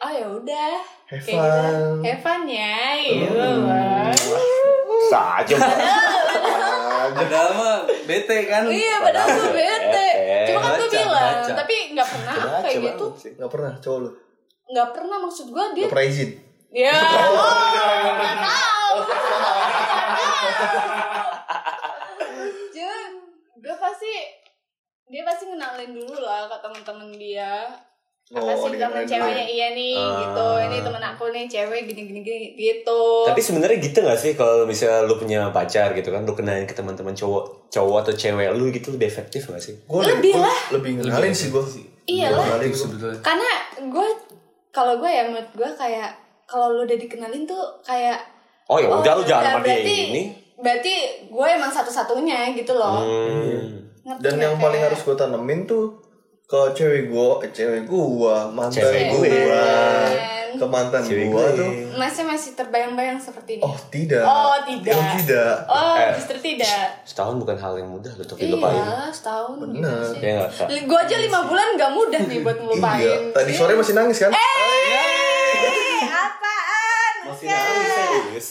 [SPEAKER 3] oh ya udah
[SPEAKER 2] Have
[SPEAKER 3] kayak gitu
[SPEAKER 2] fun.
[SPEAKER 3] have fun ya gitu
[SPEAKER 2] Hmm.
[SPEAKER 3] Bang.
[SPEAKER 1] saja
[SPEAKER 3] <laughs>
[SPEAKER 2] Aja.
[SPEAKER 4] Padahal mah bete kan.
[SPEAKER 3] iya padahal
[SPEAKER 1] Padahal
[SPEAKER 3] gue bete
[SPEAKER 1] bete.
[SPEAKER 3] cuma kan gue
[SPEAKER 4] Baca,
[SPEAKER 3] bilang
[SPEAKER 4] baca.
[SPEAKER 3] tapi nggak pernah
[SPEAKER 1] Coba,
[SPEAKER 3] kayak
[SPEAKER 1] coba.
[SPEAKER 3] gitu
[SPEAKER 2] Gak pernah cowok lu
[SPEAKER 3] nggak pernah maksud gue dia
[SPEAKER 2] Gak pernah izin
[SPEAKER 3] ya Jun, gue pasti dia pasti ngenalin dulu lah ke temen-temen dia apa
[SPEAKER 2] Oh,
[SPEAKER 3] sih
[SPEAKER 2] dia keren
[SPEAKER 3] temen ceweknya iya nih
[SPEAKER 1] Ah.
[SPEAKER 3] gitu ini temen aku nih cewek gini gini gini gitu
[SPEAKER 1] Tapi sebenarnya gitu gak sih kalau misalnya lu punya pacar gitu kan, lu kenalin ke teman-teman cowok, cowok atau cewek lu gitu lebih efektif gak sih?
[SPEAKER 2] Gua
[SPEAKER 3] Lebih
[SPEAKER 2] gua
[SPEAKER 3] lah.
[SPEAKER 2] Lebih ngenalin sih gue Gua
[SPEAKER 3] Iya lah.
[SPEAKER 2] ngenalin
[SPEAKER 4] Itu
[SPEAKER 2] gua.
[SPEAKER 4] Gitu sebetulnya.
[SPEAKER 3] karena gue kalau gue ya menurut gue kayak kalau lu udah dikenalin tuh kayak
[SPEAKER 1] Oh ya udah lu
[SPEAKER 3] oh,
[SPEAKER 1] jangan sama dia
[SPEAKER 3] berarti-
[SPEAKER 1] ini.
[SPEAKER 3] berarti gue emang satu-satunya gitu loh
[SPEAKER 1] Hmm.
[SPEAKER 3] Ngerti
[SPEAKER 2] Dan
[SPEAKER 3] nggak?
[SPEAKER 2] yang paling
[SPEAKER 3] Kayak-
[SPEAKER 2] harus gue tanemin tuh ke cewek gua, eh, cewek gua, mantan
[SPEAKER 1] Cewek
[SPEAKER 2] gua,
[SPEAKER 1] gue.
[SPEAKER 2] ke mantan
[SPEAKER 1] Cewek
[SPEAKER 2] gua
[SPEAKER 1] gue.
[SPEAKER 2] tuh,
[SPEAKER 3] masih masih terbayang-bayang seperti ini
[SPEAKER 2] oh tidak,
[SPEAKER 3] Oh, tidak.
[SPEAKER 2] oh tidak,
[SPEAKER 3] oh
[SPEAKER 1] eh.
[SPEAKER 3] justru tidak
[SPEAKER 1] Setahun bukan hal yang mudah lu untuk dilupain.
[SPEAKER 3] iya setahun
[SPEAKER 2] Bener.
[SPEAKER 1] Iya nggak, Kak?
[SPEAKER 3] gue aja lima bulan gak mudah nih buat ngelupain
[SPEAKER 2] iya. Tadi sore masih nangis kan?
[SPEAKER 3] Eh, apaan
[SPEAKER 1] Masih nangis
[SPEAKER 2] eh.
[SPEAKER 1] serius.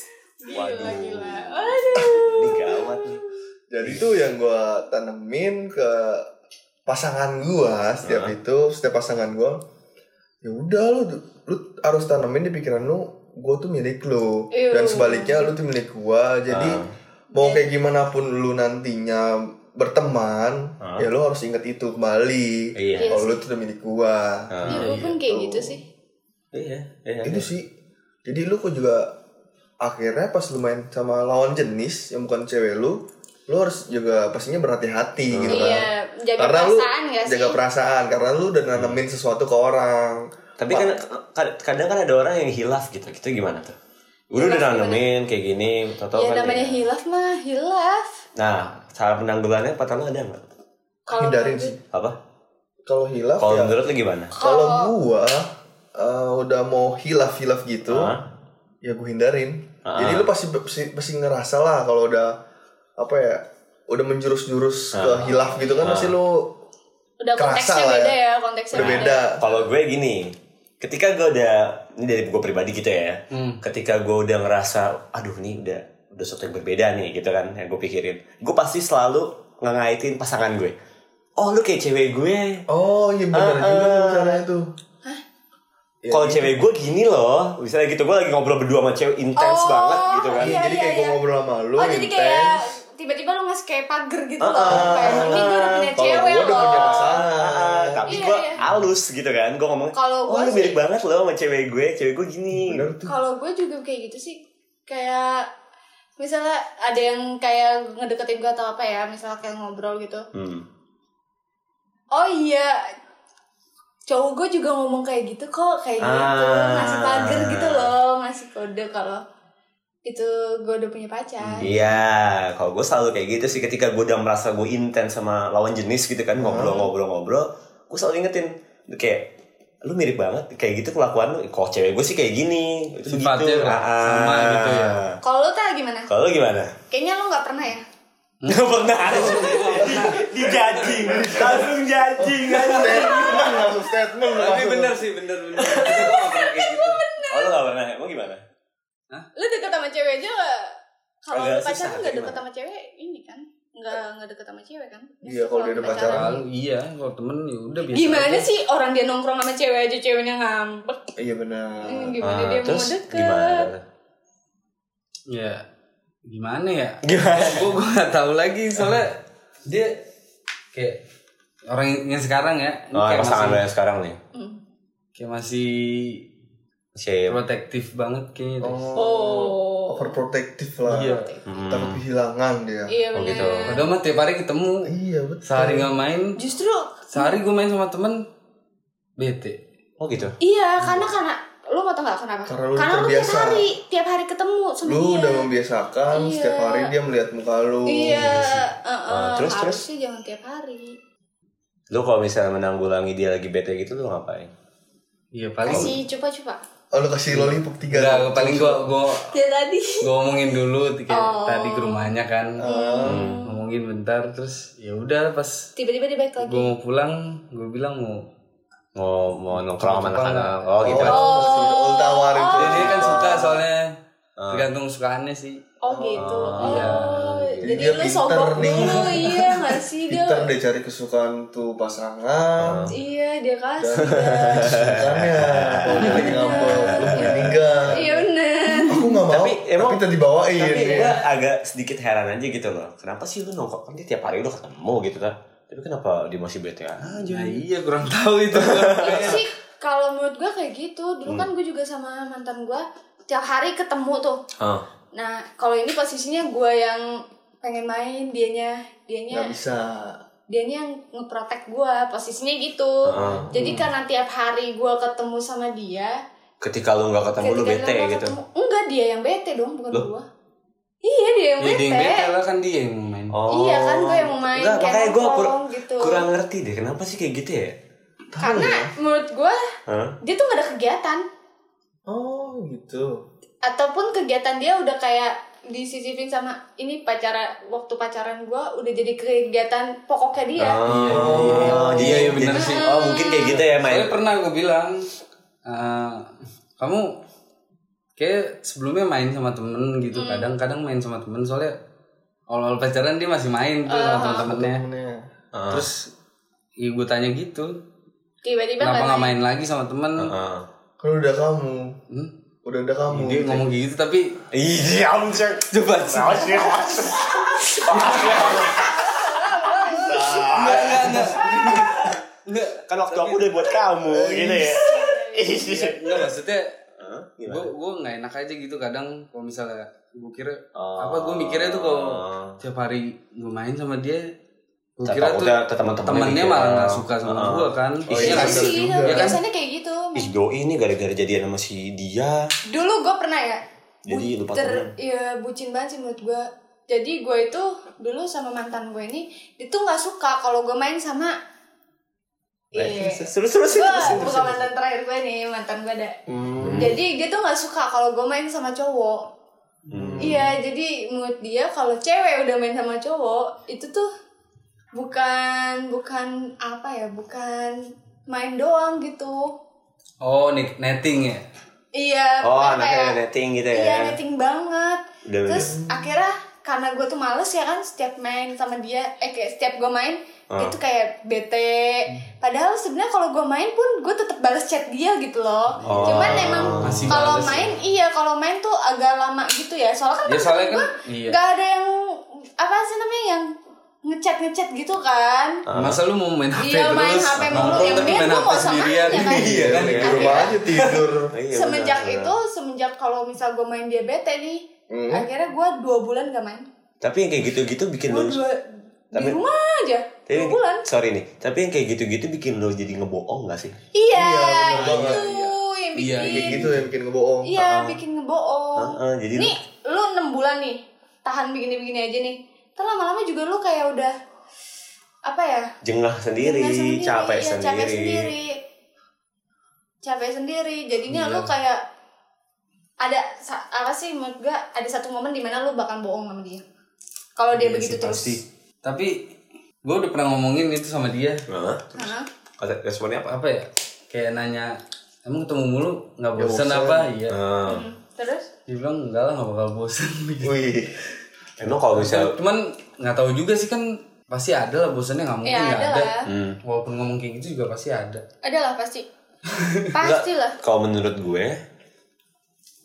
[SPEAKER 3] Iya, gila
[SPEAKER 1] Waduh.
[SPEAKER 3] gila Waduh.
[SPEAKER 1] Ini gawat nih.
[SPEAKER 2] Jadi tuh yang gua tanemin ke pasangan gua setiap itu, setiap pasangan gua, ya udah lu, lu harus tanemin di pikiran lu, gua tuh milik lu,
[SPEAKER 3] Iya.
[SPEAKER 2] dan sebaliknya lu tuh milik gua, jadi
[SPEAKER 1] Ah.
[SPEAKER 2] mau kayak gimana pun lu nantinya berteman,
[SPEAKER 1] Ah.
[SPEAKER 2] ya lu harus ingat itu kembali.
[SPEAKER 1] Iya.
[SPEAKER 3] Iya.
[SPEAKER 2] Kalau lu tuh udah milik gua.
[SPEAKER 1] Ah,
[SPEAKER 3] Iya, gue pun kayak gitu sih
[SPEAKER 1] Iya, iya.
[SPEAKER 2] Itu sih. Jadi lu kok juga akhirnya pas lu main sama lawan jenis yang bukan cewek lu, lu harus juga pastinya berhati-hati
[SPEAKER 1] Hmm.
[SPEAKER 2] gitu kan.
[SPEAKER 3] Iya, jaga
[SPEAKER 2] karena
[SPEAKER 3] perasaan
[SPEAKER 2] lu
[SPEAKER 3] gak sih?
[SPEAKER 2] jaga perasaan karena lu udah nanamin
[SPEAKER 1] Hmm.
[SPEAKER 2] sesuatu ke orang.
[SPEAKER 1] Tapi kan kad- kadang kan ada orang yang hilaf gitu. Kita gimana tuh? Udah udah nanemin kayak gini, atau
[SPEAKER 3] ya
[SPEAKER 1] kan
[SPEAKER 3] namanya
[SPEAKER 1] kayak-
[SPEAKER 3] hilaf mah hilaf
[SPEAKER 1] Nah, cara penanggulannya pertama ada nggak?
[SPEAKER 3] kalau
[SPEAKER 2] Hindarin
[SPEAKER 3] menurut-
[SPEAKER 2] sih.
[SPEAKER 1] Apa?
[SPEAKER 2] Kalau hilaf
[SPEAKER 1] Kalau
[SPEAKER 2] ya
[SPEAKER 1] menurut lu gimana?
[SPEAKER 2] kalau gua eh, udah mau hilaf-hilaf gitu,
[SPEAKER 1] Ah.
[SPEAKER 2] ya gue hindarin.
[SPEAKER 1] Ah.
[SPEAKER 2] Jadi lu pasti, pasti pasti ngerasa lah kalau udah apa ya, udah menjurus-jurus ke hilaf gitu kan pasti lu
[SPEAKER 3] udah
[SPEAKER 2] Kerasa
[SPEAKER 3] konteksnya
[SPEAKER 2] lah ya.
[SPEAKER 3] beda ya konteksnya
[SPEAKER 2] udah beda.
[SPEAKER 1] Kalau gue gini, ketika gue udah ini dari gue pribadi gitu ya,
[SPEAKER 4] Hmm.
[SPEAKER 1] ketika gue udah ngerasa, aduh nih udah udah sesuatu yang berbeda nih gitu kan yang gue pikirin, gue pasti selalu ngaitin pasangan gue. Oh lu kayak cewek gue,
[SPEAKER 2] Oh iya benar juga
[SPEAKER 3] Uh-uh.
[SPEAKER 2] tuh caranya tuh. Iya,
[SPEAKER 1] kalau
[SPEAKER 2] iya.
[SPEAKER 1] cewek gue gini loh, misalnya gitu gue lagi ngobrol berdua sama cewek intens
[SPEAKER 3] Oh,
[SPEAKER 1] banget gitu kan.
[SPEAKER 2] Iya,
[SPEAKER 3] Iya,
[SPEAKER 2] jadi kayak
[SPEAKER 3] iya,
[SPEAKER 2] gue
[SPEAKER 3] iya.
[SPEAKER 2] ngobrol sama lu
[SPEAKER 3] oh
[SPEAKER 2] intens. Ah,
[SPEAKER 3] jadi kayak tiba-tiba lu ngasih kayak pagar gitu loh kayak ini gue udah punya
[SPEAKER 2] Kalau
[SPEAKER 3] cewek
[SPEAKER 2] gue udah punya
[SPEAKER 3] loh
[SPEAKER 1] Ah,
[SPEAKER 2] pasangan.
[SPEAKER 1] tapi
[SPEAKER 3] Iya,
[SPEAKER 1] gue
[SPEAKER 3] iya.
[SPEAKER 1] halus gitu kan, gue ngomong.
[SPEAKER 3] Kalau
[SPEAKER 1] oh,
[SPEAKER 3] gue
[SPEAKER 1] lu mirip
[SPEAKER 3] sih-
[SPEAKER 1] banget loh sama cewek gue, cewek gue gini.
[SPEAKER 2] Bener tuh.
[SPEAKER 3] kalau gue juga kayak gitu sih kayak misalnya ada yang kayak ngedeketin gue atau apa ya misalnya kayak ngobrol gitu
[SPEAKER 1] Hmm.
[SPEAKER 3] oh iya cowok gue juga ngomong kayak gitu kok kayak gitu
[SPEAKER 1] Ah.
[SPEAKER 3] ngasih pagar gitu loh ngasih kode kalau itu gue udah punya pacar
[SPEAKER 1] Iya, kalau gue selalu kayak gitu sih ketika gue udah merasa gue intens sama lawan jenis gitu kan
[SPEAKER 4] Hmm.
[SPEAKER 1] ngobrol-ngobrol-ngobrol, gue selalu ingetin Lu kayak lu mirip banget kayak gitu kelakuan lu. Kok cewek gue sih kayak gini, itu
[SPEAKER 4] Sifatnya
[SPEAKER 1] gitu.
[SPEAKER 4] lah, sama gitu ya.
[SPEAKER 3] kalau lo tau gimana
[SPEAKER 1] Kalau lu gimana?
[SPEAKER 3] kayaknya lo nggak pernah ya
[SPEAKER 4] Hmm.
[SPEAKER 1] Gak pernah. Dijajing, langsung Oh, jajing. anjing.
[SPEAKER 2] Statement langsung statement
[SPEAKER 4] Tapi
[SPEAKER 2] langsung.
[SPEAKER 4] bener sih, bener bener. Gua nggak pernah kayak gitu.
[SPEAKER 1] Oh lu gak pernah, emang gimana?
[SPEAKER 3] lo deket sama cewek aja kalau
[SPEAKER 1] Agak
[SPEAKER 3] lo pacaran
[SPEAKER 1] susah,
[SPEAKER 3] nggak deket
[SPEAKER 1] gimana?
[SPEAKER 3] sama cewek ini kan nggak nggak deket sama cewek kan
[SPEAKER 2] Iya, kalau dia udah pacaran.
[SPEAKER 4] Kalau iya, kalau temen ya udah biasa.
[SPEAKER 3] gimana
[SPEAKER 4] aja.
[SPEAKER 3] sih orang dia nongkrong sama cewek aja ceweknya ngambek
[SPEAKER 2] Iya benar.
[SPEAKER 3] Hmm, gimana
[SPEAKER 1] Ah,
[SPEAKER 3] dia mau
[SPEAKER 1] terus
[SPEAKER 3] deket
[SPEAKER 1] gimana?
[SPEAKER 4] Ya gimana ya?
[SPEAKER 1] Gimana?
[SPEAKER 4] Gue gue nggak tahu lagi soalnya dia kayak orang yang sekarang ya, ini
[SPEAKER 1] Oh,
[SPEAKER 4] kayak
[SPEAKER 1] pasangan lo
[SPEAKER 4] masih
[SPEAKER 1] yang sekarang nih.
[SPEAKER 3] Hmm.
[SPEAKER 4] kayak masih
[SPEAKER 1] Si
[SPEAKER 4] protektif banget gitu. kayaknya. deh.
[SPEAKER 3] oh
[SPEAKER 2] Overprotective lah.
[SPEAKER 4] Iya.
[SPEAKER 2] Takut kehilangan dia.
[SPEAKER 3] iya
[SPEAKER 1] Oh,
[SPEAKER 3] benar
[SPEAKER 1] gitu.
[SPEAKER 4] Padahal mah tiap hari ketemu,
[SPEAKER 2] Iya betul.
[SPEAKER 4] sehari nggak main,
[SPEAKER 3] justru
[SPEAKER 4] sehari gue main sama temen bete.
[SPEAKER 1] Oh gitu.
[SPEAKER 3] iya karena karena lo mau tau nggak kenapa
[SPEAKER 2] Karena lu
[SPEAKER 3] karena lu tiap
[SPEAKER 2] terbiasa.
[SPEAKER 3] hari tiap hari ketemu sama
[SPEAKER 2] Lu
[SPEAKER 3] dia
[SPEAKER 2] udah membiasakan
[SPEAKER 3] Iya.
[SPEAKER 2] setiap hari dia melihat muka lu.
[SPEAKER 3] iya
[SPEAKER 1] Ah, terus,
[SPEAKER 3] terus
[SPEAKER 1] terus?
[SPEAKER 3] harusnya jangan tiap hari
[SPEAKER 1] Lu kalau misalnya menanggulangi dia lagi bete gitu lu ngapain?
[SPEAKER 4] Iya paling.
[SPEAKER 3] kasih coba-coba
[SPEAKER 2] Oh, lu kasih lollipop tiga. Oh,
[SPEAKER 4] Enggak, paling gue gue
[SPEAKER 3] dia tadi
[SPEAKER 4] gue ngomongin dulu kayak
[SPEAKER 3] Oh.
[SPEAKER 4] tadi ke rumahnya kan ngomongin bentar terus ya udah pas
[SPEAKER 3] tiba-tiba dia baik lagi
[SPEAKER 4] gue mau pulang gue bilang mau
[SPEAKER 1] mau mau nongkrong sama anak-anak
[SPEAKER 2] Nongkrong.
[SPEAKER 1] oh gitu
[SPEAKER 2] Oh. Oh, tawarin tuh.
[SPEAKER 4] Jadi dia kan suka
[SPEAKER 3] Iya.
[SPEAKER 4] soalnya
[SPEAKER 1] Oh. Ah.
[SPEAKER 4] tergantung sukaannya sih.
[SPEAKER 3] Oh gitu.
[SPEAKER 1] Oh,
[SPEAKER 3] Oh,
[SPEAKER 4] iya.
[SPEAKER 3] jadi
[SPEAKER 2] Dia
[SPEAKER 3] lu
[SPEAKER 2] pinter
[SPEAKER 3] sobok
[SPEAKER 2] nih.
[SPEAKER 3] dulu iya nggak sih dia?
[SPEAKER 2] Pinter deh cari kesukaan tuh
[SPEAKER 4] Ah.
[SPEAKER 2] pasangan.
[SPEAKER 3] Iya dia
[SPEAKER 2] Dan
[SPEAKER 3] kasih.
[SPEAKER 2] kesukaannya. Kalau dia lagi ngambek, lu meninggal.
[SPEAKER 3] Iya bener.
[SPEAKER 2] Aku nggak mau.
[SPEAKER 1] Tapi
[SPEAKER 2] Tapi,
[SPEAKER 1] emang-
[SPEAKER 2] tapi dibawain.
[SPEAKER 4] iya,
[SPEAKER 1] tapi
[SPEAKER 2] ya.
[SPEAKER 1] gue agak sedikit heran aja gitu loh kenapa sih lu nongkrong kan dia tiap hari udah ketemu gitu kan tapi kenapa dia masih bete aja
[SPEAKER 4] Nah, iya kurang tahu
[SPEAKER 1] <laughs>
[SPEAKER 4] itu. Kayaknya.
[SPEAKER 3] sih kalau menurut gue kayak gitu dulu kan gue juga sama mantan gue tiap hari ketemu tuh
[SPEAKER 1] Ah.
[SPEAKER 3] nah kalau ini posisinya gue yang pengen main dianya
[SPEAKER 2] Nggak
[SPEAKER 3] dianya
[SPEAKER 2] bisa.
[SPEAKER 3] dianya yang ngeprotek gue posisinya gitu
[SPEAKER 1] Ah.
[SPEAKER 3] jadi karena tiap hari gue ketemu sama dia
[SPEAKER 1] ketika lu nggak ketemu lu
[SPEAKER 3] ketika
[SPEAKER 1] bete
[SPEAKER 3] gua
[SPEAKER 1] gitu
[SPEAKER 3] ketemu, enggak dia yang bete dong bukan
[SPEAKER 1] Loh?
[SPEAKER 3] gue iya dia yang
[SPEAKER 4] Dia
[SPEAKER 3] bete,
[SPEAKER 4] Ya, dia yang bete lah kan dia yang main.
[SPEAKER 1] oh
[SPEAKER 3] iya kan gue yang mau main
[SPEAKER 1] Nggak,
[SPEAKER 3] kayak
[SPEAKER 1] makanya gue
[SPEAKER 3] nongkrong
[SPEAKER 1] kurang
[SPEAKER 3] gitu
[SPEAKER 1] kurang ngerti deh kenapa sih kayak gitu ya
[SPEAKER 3] karena menurut gue
[SPEAKER 1] Hah?
[SPEAKER 3] dia tuh gak ada kegiatan
[SPEAKER 2] Oh gitu.
[SPEAKER 3] ataupun kegiatan dia udah kayak disisipin sama ini pacara waktu pacaran gua udah jadi kegiatan pokoknya dia
[SPEAKER 1] Ah, Oh,
[SPEAKER 4] Iya, iya, iya, bener sih.
[SPEAKER 1] Oh, mungkin kayak gitu ya, main.
[SPEAKER 4] Soalnya pernah gue bilang, "Ah, kamu kayak sebelumnya main sama temen gitu.
[SPEAKER 1] Hmm.
[SPEAKER 4] Kadang-kadang main sama temen soalnya awal-awal pacaran dia masih main tuh
[SPEAKER 1] Ah.
[SPEAKER 4] sama temen-temennya.
[SPEAKER 2] Temennya.
[SPEAKER 4] Terus ya gue tanya gitu,
[SPEAKER 3] tiba-tiba
[SPEAKER 4] kenapa
[SPEAKER 3] nggak
[SPEAKER 4] nggak main lagi sama temen?
[SPEAKER 1] Heeh.
[SPEAKER 2] Kan udah kamu.
[SPEAKER 4] Hmm?
[SPEAKER 2] Udah ada kamu.
[SPEAKER 1] Iya,
[SPEAKER 4] Dia ngomong gitu tapi
[SPEAKER 1] Ih, anjir.
[SPEAKER 4] coba sih. Enggak, enggak, enggak. Enggak.
[SPEAKER 1] Kan waktu aku udah buat kamu
[SPEAKER 4] Iya.
[SPEAKER 1] gitu ya.
[SPEAKER 4] Enggak maksudnya
[SPEAKER 1] Hah?
[SPEAKER 4] gue
[SPEAKER 1] Gimana?
[SPEAKER 4] gue nggak enak aja gitu kadang kalau misalnya gue kira
[SPEAKER 1] Oh.
[SPEAKER 4] apa gue mikirnya tuh kalau tiap hari gue main sama dia gue
[SPEAKER 1] Tetap
[SPEAKER 4] kira tuh
[SPEAKER 1] udah, tetap teman-temannya
[SPEAKER 4] temennya
[SPEAKER 1] mikir.
[SPEAKER 4] malah nggak suka sama
[SPEAKER 1] Heeh.
[SPEAKER 4] gue kan
[SPEAKER 1] Oh,
[SPEAKER 3] iya
[SPEAKER 4] Iya kan?
[SPEAKER 3] sih
[SPEAKER 2] juga.
[SPEAKER 4] Iya kan?
[SPEAKER 3] biasanya kayak gitu
[SPEAKER 1] Ih, doi ini gara-gara jadian sama si dia.
[SPEAKER 3] dulu gua pernah ya
[SPEAKER 1] Jadi lupa
[SPEAKER 3] ter
[SPEAKER 1] teman.
[SPEAKER 3] ya bucin banget sih menurut gua jadi gua itu dulu sama mantan gue ini dia tuh nggak suka kalau gua main sama iya
[SPEAKER 1] Terus terus
[SPEAKER 3] gue
[SPEAKER 1] terus.
[SPEAKER 3] bukan mantan terakhir gue nih mantan gue ada
[SPEAKER 1] Hmm.
[SPEAKER 3] jadi dia tuh nggak suka kalau gue main sama cowok
[SPEAKER 1] Hmm.
[SPEAKER 3] Iya, jadi menurut dia kalau cewek udah main sama cowok itu tuh bukan bukan apa ya, bukan main doang gitu.
[SPEAKER 4] oh net- netting ya
[SPEAKER 3] Iya,
[SPEAKER 1] Oh,
[SPEAKER 3] bukan
[SPEAKER 1] anaknya netting gitu ya.
[SPEAKER 3] Iya, netting banget.
[SPEAKER 1] Udah, Iya,
[SPEAKER 3] Terus
[SPEAKER 4] Iya.
[SPEAKER 3] akhirnya karena gue tuh males ya kan setiap main sama dia, eh kayak setiap gue main
[SPEAKER 1] Ah.
[SPEAKER 3] itu kayak bete. Padahal sebenarnya kalau gue main pun gue tetap balas chat dia gitu loh.
[SPEAKER 1] Oh.
[SPEAKER 3] Cuman emang
[SPEAKER 4] Masih
[SPEAKER 3] kalau
[SPEAKER 4] balas ya.
[SPEAKER 3] main iya kalau main tuh agak lama gitu ya. Soalnya kan
[SPEAKER 4] ya soalnya kan iya
[SPEAKER 3] nggak ada yang apa sih namanya yang ngechat ngechat gitu kan
[SPEAKER 1] Uh-huh.
[SPEAKER 4] masa lu mau main hp
[SPEAKER 3] Iya,
[SPEAKER 4] terus
[SPEAKER 3] main HP mulu.
[SPEAKER 4] nongkrong
[SPEAKER 3] Yang
[SPEAKER 4] tapi
[SPEAKER 3] dia
[SPEAKER 4] main
[SPEAKER 3] gua
[SPEAKER 4] hp
[SPEAKER 3] nggak usah
[SPEAKER 4] sendirian
[SPEAKER 3] main, ya kan?
[SPEAKER 4] iya kan
[SPEAKER 2] Di rumah aja
[SPEAKER 3] <laughs>
[SPEAKER 2] tidur.
[SPEAKER 1] Iya,
[SPEAKER 3] semenjak
[SPEAKER 1] benar,
[SPEAKER 3] itu semenjak kalau misal gue main dia bete nih
[SPEAKER 4] Mhm.
[SPEAKER 2] Hmm.
[SPEAKER 3] akhirnya gue dua bulan gak main
[SPEAKER 1] benar. Tapi yang kayak gitu-gitu bikin
[SPEAKER 3] gue
[SPEAKER 1] lu
[SPEAKER 3] dua di
[SPEAKER 1] Tapi-
[SPEAKER 3] rumah aja
[SPEAKER 1] Tapi-
[SPEAKER 3] dua bulan
[SPEAKER 1] Sorry nih, tapi yang kayak gitu-gitu bikin lo jadi ngebohong gak sih?
[SPEAKER 3] iya
[SPEAKER 2] Iya, bener
[SPEAKER 3] itu yang
[SPEAKER 4] Iya,
[SPEAKER 3] bikin
[SPEAKER 2] Kayak gitu yang bikin ngebohong.
[SPEAKER 3] iya bikin ngebohong
[SPEAKER 1] Heeh, iya. jadi
[SPEAKER 3] Oh. nih lu enam bulan nih tahan begini-begini aja nih Ntar lama-lama juga lu kayak udah apa ya
[SPEAKER 1] jengah sendiri,
[SPEAKER 3] Capek
[SPEAKER 1] capek,
[SPEAKER 3] iya,
[SPEAKER 1] sendiri.
[SPEAKER 3] capek sendiri capek sendiri jadinya lu kayak ada sa- apa sih menurut gua ada satu momen dimana lu bakal bohong sama dia kalau dia
[SPEAKER 4] Iya
[SPEAKER 3] begitu
[SPEAKER 4] sih,
[SPEAKER 3] terus
[SPEAKER 4] pasti. tapi gue udah pernah ngomongin itu sama dia
[SPEAKER 1] Heeh.
[SPEAKER 3] Hah?
[SPEAKER 1] Kata responnya apa?
[SPEAKER 4] apa ya kayak nanya emang ketemu mulu
[SPEAKER 2] Ya,
[SPEAKER 4] nggak
[SPEAKER 2] bosan.
[SPEAKER 4] bosan apa iya
[SPEAKER 1] Heeh.
[SPEAKER 3] Hmm, terus
[SPEAKER 4] dia bilang enggak lah nggak bakal bosan <laughs> gitu
[SPEAKER 2] Wih.
[SPEAKER 1] Emang kalau misal
[SPEAKER 4] cuman nggak tahu juga sih kan pasti ada lah bosannya nggak mungkin
[SPEAKER 3] ya
[SPEAKER 4] nggak
[SPEAKER 3] ada
[SPEAKER 4] ada
[SPEAKER 3] lah
[SPEAKER 1] Hmm.
[SPEAKER 4] walaupun ngomong kayak gitu juga pasti ada
[SPEAKER 3] ada lah
[SPEAKER 2] <laughs>
[SPEAKER 3] pasti pasti lah
[SPEAKER 1] kalau menurut gue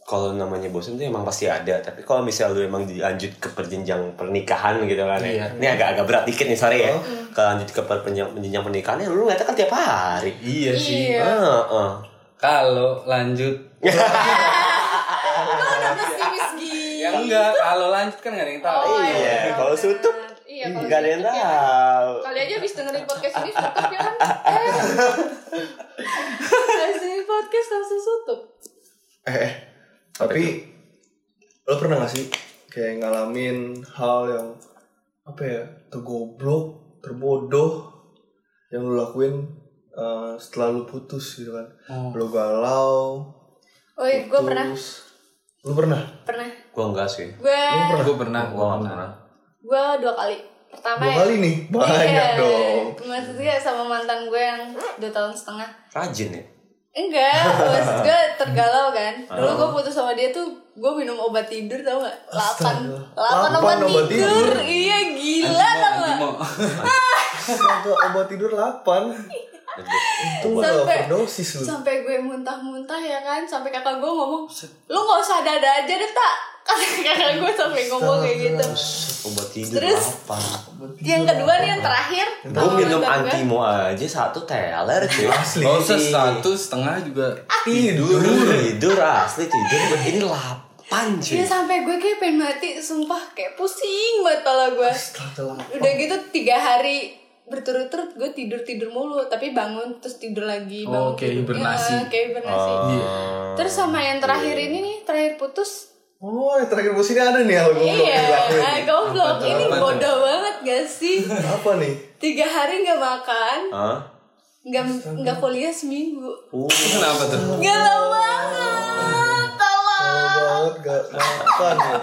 [SPEAKER 1] kalau namanya bosan tuh emang pasti ada tapi kalau misal lu emang dilanjut ke perjenjang pernikahan gitu kan ya
[SPEAKER 4] Iya.
[SPEAKER 1] ini agak agak berat dikit nih sorry ya
[SPEAKER 2] Oh.
[SPEAKER 1] kalau lanjut ke perjenjang perjenjang pernikahan ya lu ngeliatnya kan tiap hari
[SPEAKER 4] iya sih
[SPEAKER 3] iya
[SPEAKER 1] Heeh. Oh,
[SPEAKER 4] kalau lanjut
[SPEAKER 3] Kok udah Kan pesimis gini
[SPEAKER 4] ya enggak kalau lanjut kan nggak ada yang tahu
[SPEAKER 1] iya, kalau
[SPEAKER 3] benar.
[SPEAKER 1] sutup,
[SPEAKER 3] Oh, iya kalau
[SPEAKER 1] gak ada yang
[SPEAKER 3] sutup ya.
[SPEAKER 1] tahu
[SPEAKER 3] kali aja habis dengerin podcast ini sutup ya
[SPEAKER 2] <laughs>
[SPEAKER 3] kan eh habis dengerin podcast langsung sutup
[SPEAKER 2] Eh, eh. tapi lo pernah gak sih kayak ngalamin hal yang apa ya tergoblok, terbodoh yang lo lakuin eh, setelah lo putus gitu kan?
[SPEAKER 4] Oh.
[SPEAKER 2] Lo galau.
[SPEAKER 3] oh iya
[SPEAKER 2] Gitu.
[SPEAKER 3] gue pernah
[SPEAKER 2] Lo pernah?
[SPEAKER 3] pernah
[SPEAKER 1] gue enggak sih
[SPEAKER 3] gue
[SPEAKER 2] Lo pernah?
[SPEAKER 4] gue pernah
[SPEAKER 1] gue nggak pernah
[SPEAKER 3] gue dua kali pertama
[SPEAKER 2] Dua
[SPEAKER 3] ya-
[SPEAKER 2] kali nih banyak
[SPEAKER 3] Iya.
[SPEAKER 2] dong.
[SPEAKER 3] maksudnya sama mantan gue yang dua tahun setengah
[SPEAKER 1] Rajin ya.
[SPEAKER 2] <laughs>
[SPEAKER 3] enggak maksud gue tergalau kan dulu
[SPEAKER 2] Oh.
[SPEAKER 3] gue putus sama dia tuh gue minum obat tidur tau gak delapan
[SPEAKER 2] Astaga.
[SPEAKER 3] delapan
[SPEAKER 2] Delapan
[SPEAKER 3] obat,
[SPEAKER 2] obat
[SPEAKER 3] tidur.
[SPEAKER 2] tidur.
[SPEAKER 3] iya gila tau gak
[SPEAKER 4] Antimo.
[SPEAKER 2] Satu obat tidur 8 Itu gak
[SPEAKER 3] Sampai-
[SPEAKER 2] overdosis lu
[SPEAKER 3] sampai gue muntah-muntah ya kan sampai kakak gue ngomong lu nggak usah dada aja deh tak <laughs> Kata kakak gue sampai ngomong kayak gitu
[SPEAKER 1] Obat tidur
[SPEAKER 3] Terus?
[SPEAKER 1] apa?
[SPEAKER 3] yang kedua nih yang terakhir
[SPEAKER 1] Gue
[SPEAKER 3] sama
[SPEAKER 1] minum
[SPEAKER 3] mantan gue.
[SPEAKER 1] antimo aja satu teler cuy.
[SPEAKER 2] Asli
[SPEAKER 4] <laughs> Gak usah satu setengah juga
[SPEAKER 3] Ah.
[SPEAKER 2] Tidur
[SPEAKER 1] tidur asli tidur gue ini lapan
[SPEAKER 3] Iya
[SPEAKER 1] cuy.
[SPEAKER 3] sampai gue kayak pengen mati, sumpah kayak pusing banget kepala gue. Udah gitu tiga hari berturut-turut gue tidur tidur mulu, tapi bangun terus tidur lagi.
[SPEAKER 4] Oh,
[SPEAKER 3] bangun
[SPEAKER 4] kayak
[SPEAKER 3] tidur.
[SPEAKER 4] hibernasi. Oh.
[SPEAKER 3] Iya, kayak hibernasi. Terus sama yang terakhir ini nih, terakhir putus.
[SPEAKER 2] Oh yang terakhir bos ini ada nih Hal goblok
[SPEAKER 3] Iya,
[SPEAKER 2] dilakuin
[SPEAKER 3] ah, goblok.
[SPEAKER 4] Apa tuh,
[SPEAKER 3] Ini
[SPEAKER 4] apa tuh?
[SPEAKER 3] bodoh banget gak sih? <laughs>
[SPEAKER 2] Apa nih?
[SPEAKER 3] Tiga hari nggak makan,
[SPEAKER 1] Hah?
[SPEAKER 3] nggak nggak kuliah seminggu.
[SPEAKER 1] Uh,
[SPEAKER 4] Kenapa tuh?
[SPEAKER 3] Gila banget, tolong.
[SPEAKER 2] Tahu banget gak makan ya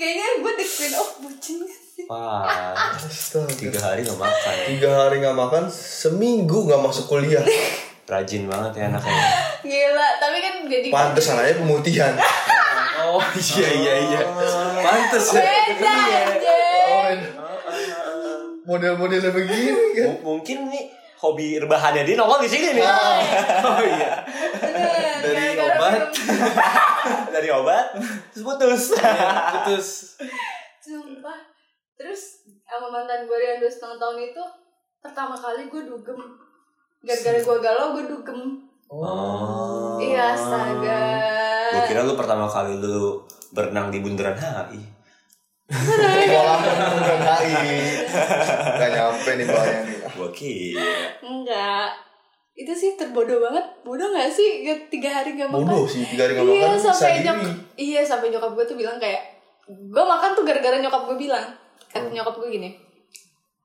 [SPEAKER 3] Kayaknya gue dikuin, oh bucin gak sih?
[SPEAKER 1] wah.
[SPEAKER 2] Astaga
[SPEAKER 1] Tiga hari gak makan.
[SPEAKER 2] Tiga hari gak makan Seminggu gak masuk kuliah
[SPEAKER 1] Rajin banget ya anaknya.
[SPEAKER 3] Gila, tapi kan jadi
[SPEAKER 2] Pantesan aja pemutihan
[SPEAKER 4] Oh <laughs> iya iya iya. Pantes ya.
[SPEAKER 3] beda
[SPEAKER 2] Oh,
[SPEAKER 3] aja.
[SPEAKER 2] Model-modelnya begini kan
[SPEAKER 1] M- Mungkin nih hobi rebahannya dia nongol di sini nih. <laughs>
[SPEAKER 4] Oh iya.
[SPEAKER 3] Dari
[SPEAKER 4] obat.
[SPEAKER 1] Dari obat terus putus.
[SPEAKER 4] Iya. Putus.
[SPEAKER 3] Sumpah. Terus sama mantan gue yang dua setengah tahun itu pertama kali gue dugem. Gara-gara gue galau gue dugem.
[SPEAKER 1] <laughs> Oh.
[SPEAKER 3] Iya astaga.
[SPEAKER 1] Gue kira lu pertama kali lu berenang di bundaran HI.
[SPEAKER 2] Kolam udah kali Gak nyampe nih bawahnya nih
[SPEAKER 1] Gue kira.
[SPEAKER 3] Enggak. Itu sih terbodoh banget. Bodoh gak sih Gak- tiga hari gak makan?
[SPEAKER 2] Bodoh sih Tiga hari gak
[SPEAKER 3] Iya
[SPEAKER 2] makan
[SPEAKER 3] sampai
[SPEAKER 2] sadiri.
[SPEAKER 3] nyokap Iya sampai nyokap gue tuh bilang kayak Gue makan tuh gara-gara nyokap gue bilang Kata nyokap gue gini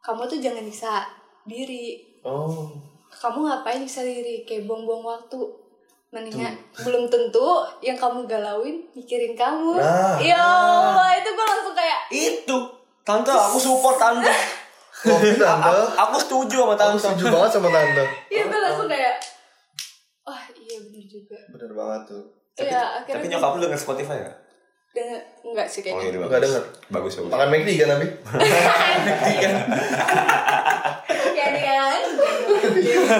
[SPEAKER 3] Kamu tuh jangan nyiksa diri
[SPEAKER 2] Oh
[SPEAKER 3] Kamu ngapain nyiksa diri Kayak buang-buang waktu Mendingan belum tentu yang kamu galauin mikirin kamu
[SPEAKER 2] Nah.
[SPEAKER 3] Ya Allah itu gue langsung kayak
[SPEAKER 1] Itu. Tante, aku support tante.
[SPEAKER 2] Kopi Oh, tante
[SPEAKER 1] A- Aku setuju sama
[SPEAKER 2] Aku
[SPEAKER 1] tante.
[SPEAKER 2] setuju banget sama tante
[SPEAKER 3] Iya gue langsung kayak Wah iya bener juga
[SPEAKER 2] Bener banget tuh
[SPEAKER 1] Tapi,
[SPEAKER 3] Iya
[SPEAKER 1] tapi
[SPEAKER 3] akhirnya
[SPEAKER 1] nyokap lu denger Spotify gak?
[SPEAKER 3] denger- Enggak sih
[SPEAKER 1] Oh,
[SPEAKER 3] kayaknya
[SPEAKER 1] iya, bagus.
[SPEAKER 2] Nggak denger.
[SPEAKER 1] Bagus, bagus.
[SPEAKER 2] Makan McD kan tapi
[SPEAKER 3] Ya kan Iya.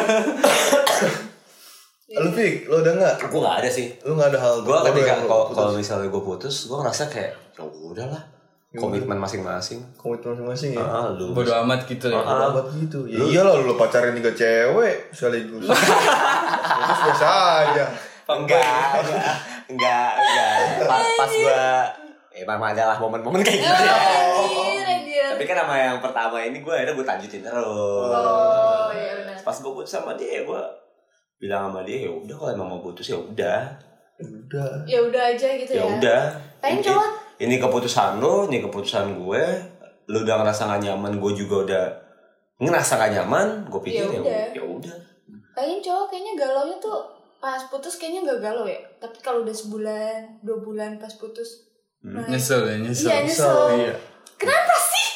[SPEAKER 2] Lu Fik, lu udah gak?
[SPEAKER 1] Aku gak ada sih.
[SPEAKER 2] Lu gak ada hal
[SPEAKER 1] gue
[SPEAKER 2] bodoh
[SPEAKER 1] ketika
[SPEAKER 2] yang lu
[SPEAKER 1] kalau
[SPEAKER 2] putus?
[SPEAKER 1] kalau misalnya gue putus gue ngerasa kayak ya udahlah
[SPEAKER 2] Ya
[SPEAKER 1] komitmen masing-masing
[SPEAKER 2] Komitmen masing-masing ya
[SPEAKER 1] ah lu
[SPEAKER 4] Bodoh amat gitu ya.
[SPEAKER 1] Ah.
[SPEAKER 2] Obat gitu Ya iyalah lu pacarin tiga cewek
[SPEAKER 4] <laughs>
[SPEAKER 2] Sekaligus Terus biasa aja
[SPEAKER 1] enggak enggak, enggak enggak pas, pas gue emang adalah momen-momen kayak gitu ya
[SPEAKER 3] Anjir anjir
[SPEAKER 1] tapi kan sama yang pertama ini gue akhirnya gue lanjutin terus
[SPEAKER 3] Oh iya benar.
[SPEAKER 1] pas gue putus sama dia gue bilang sama dia ya udah kalau emang mau putus ya udah
[SPEAKER 2] Udah
[SPEAKER 3] Ya udah aja gitu
[SPEAKER 1] ya
[SPEAKER 3] ya.
[SPEAKER 1] udah
[SPEAKER 3] Lain
[SPEAKER 1] Ini-
[SPEAKER 3] cowok.
[SPEAKER 1] ini keputusan lo ini keputusan gue lu udah ngerasa gak nyaman gue juga udah ngerasa gak nyaman gue pikir ya
[SPEAKER 3] Ya udah.
[SPEAKER 1] ya udah
[SPEAKER 3] Lain cowok kayaknya galau nya tuh pas putus kayaknya nggak galau ya. Tapi kalau udah sebulan, dua bulan pas putus.
[SPEAKER 1] Hmm.
[SPEAKER 3] Nah,
[SPEAKER 4] Nyesel ya nyesel.
[SPEAKER 3] Iya nyesel.
[SPEAKER 2] Oh,
[SPEAKER 4] Iya.
[SPEAKER 3] Kenapa sih?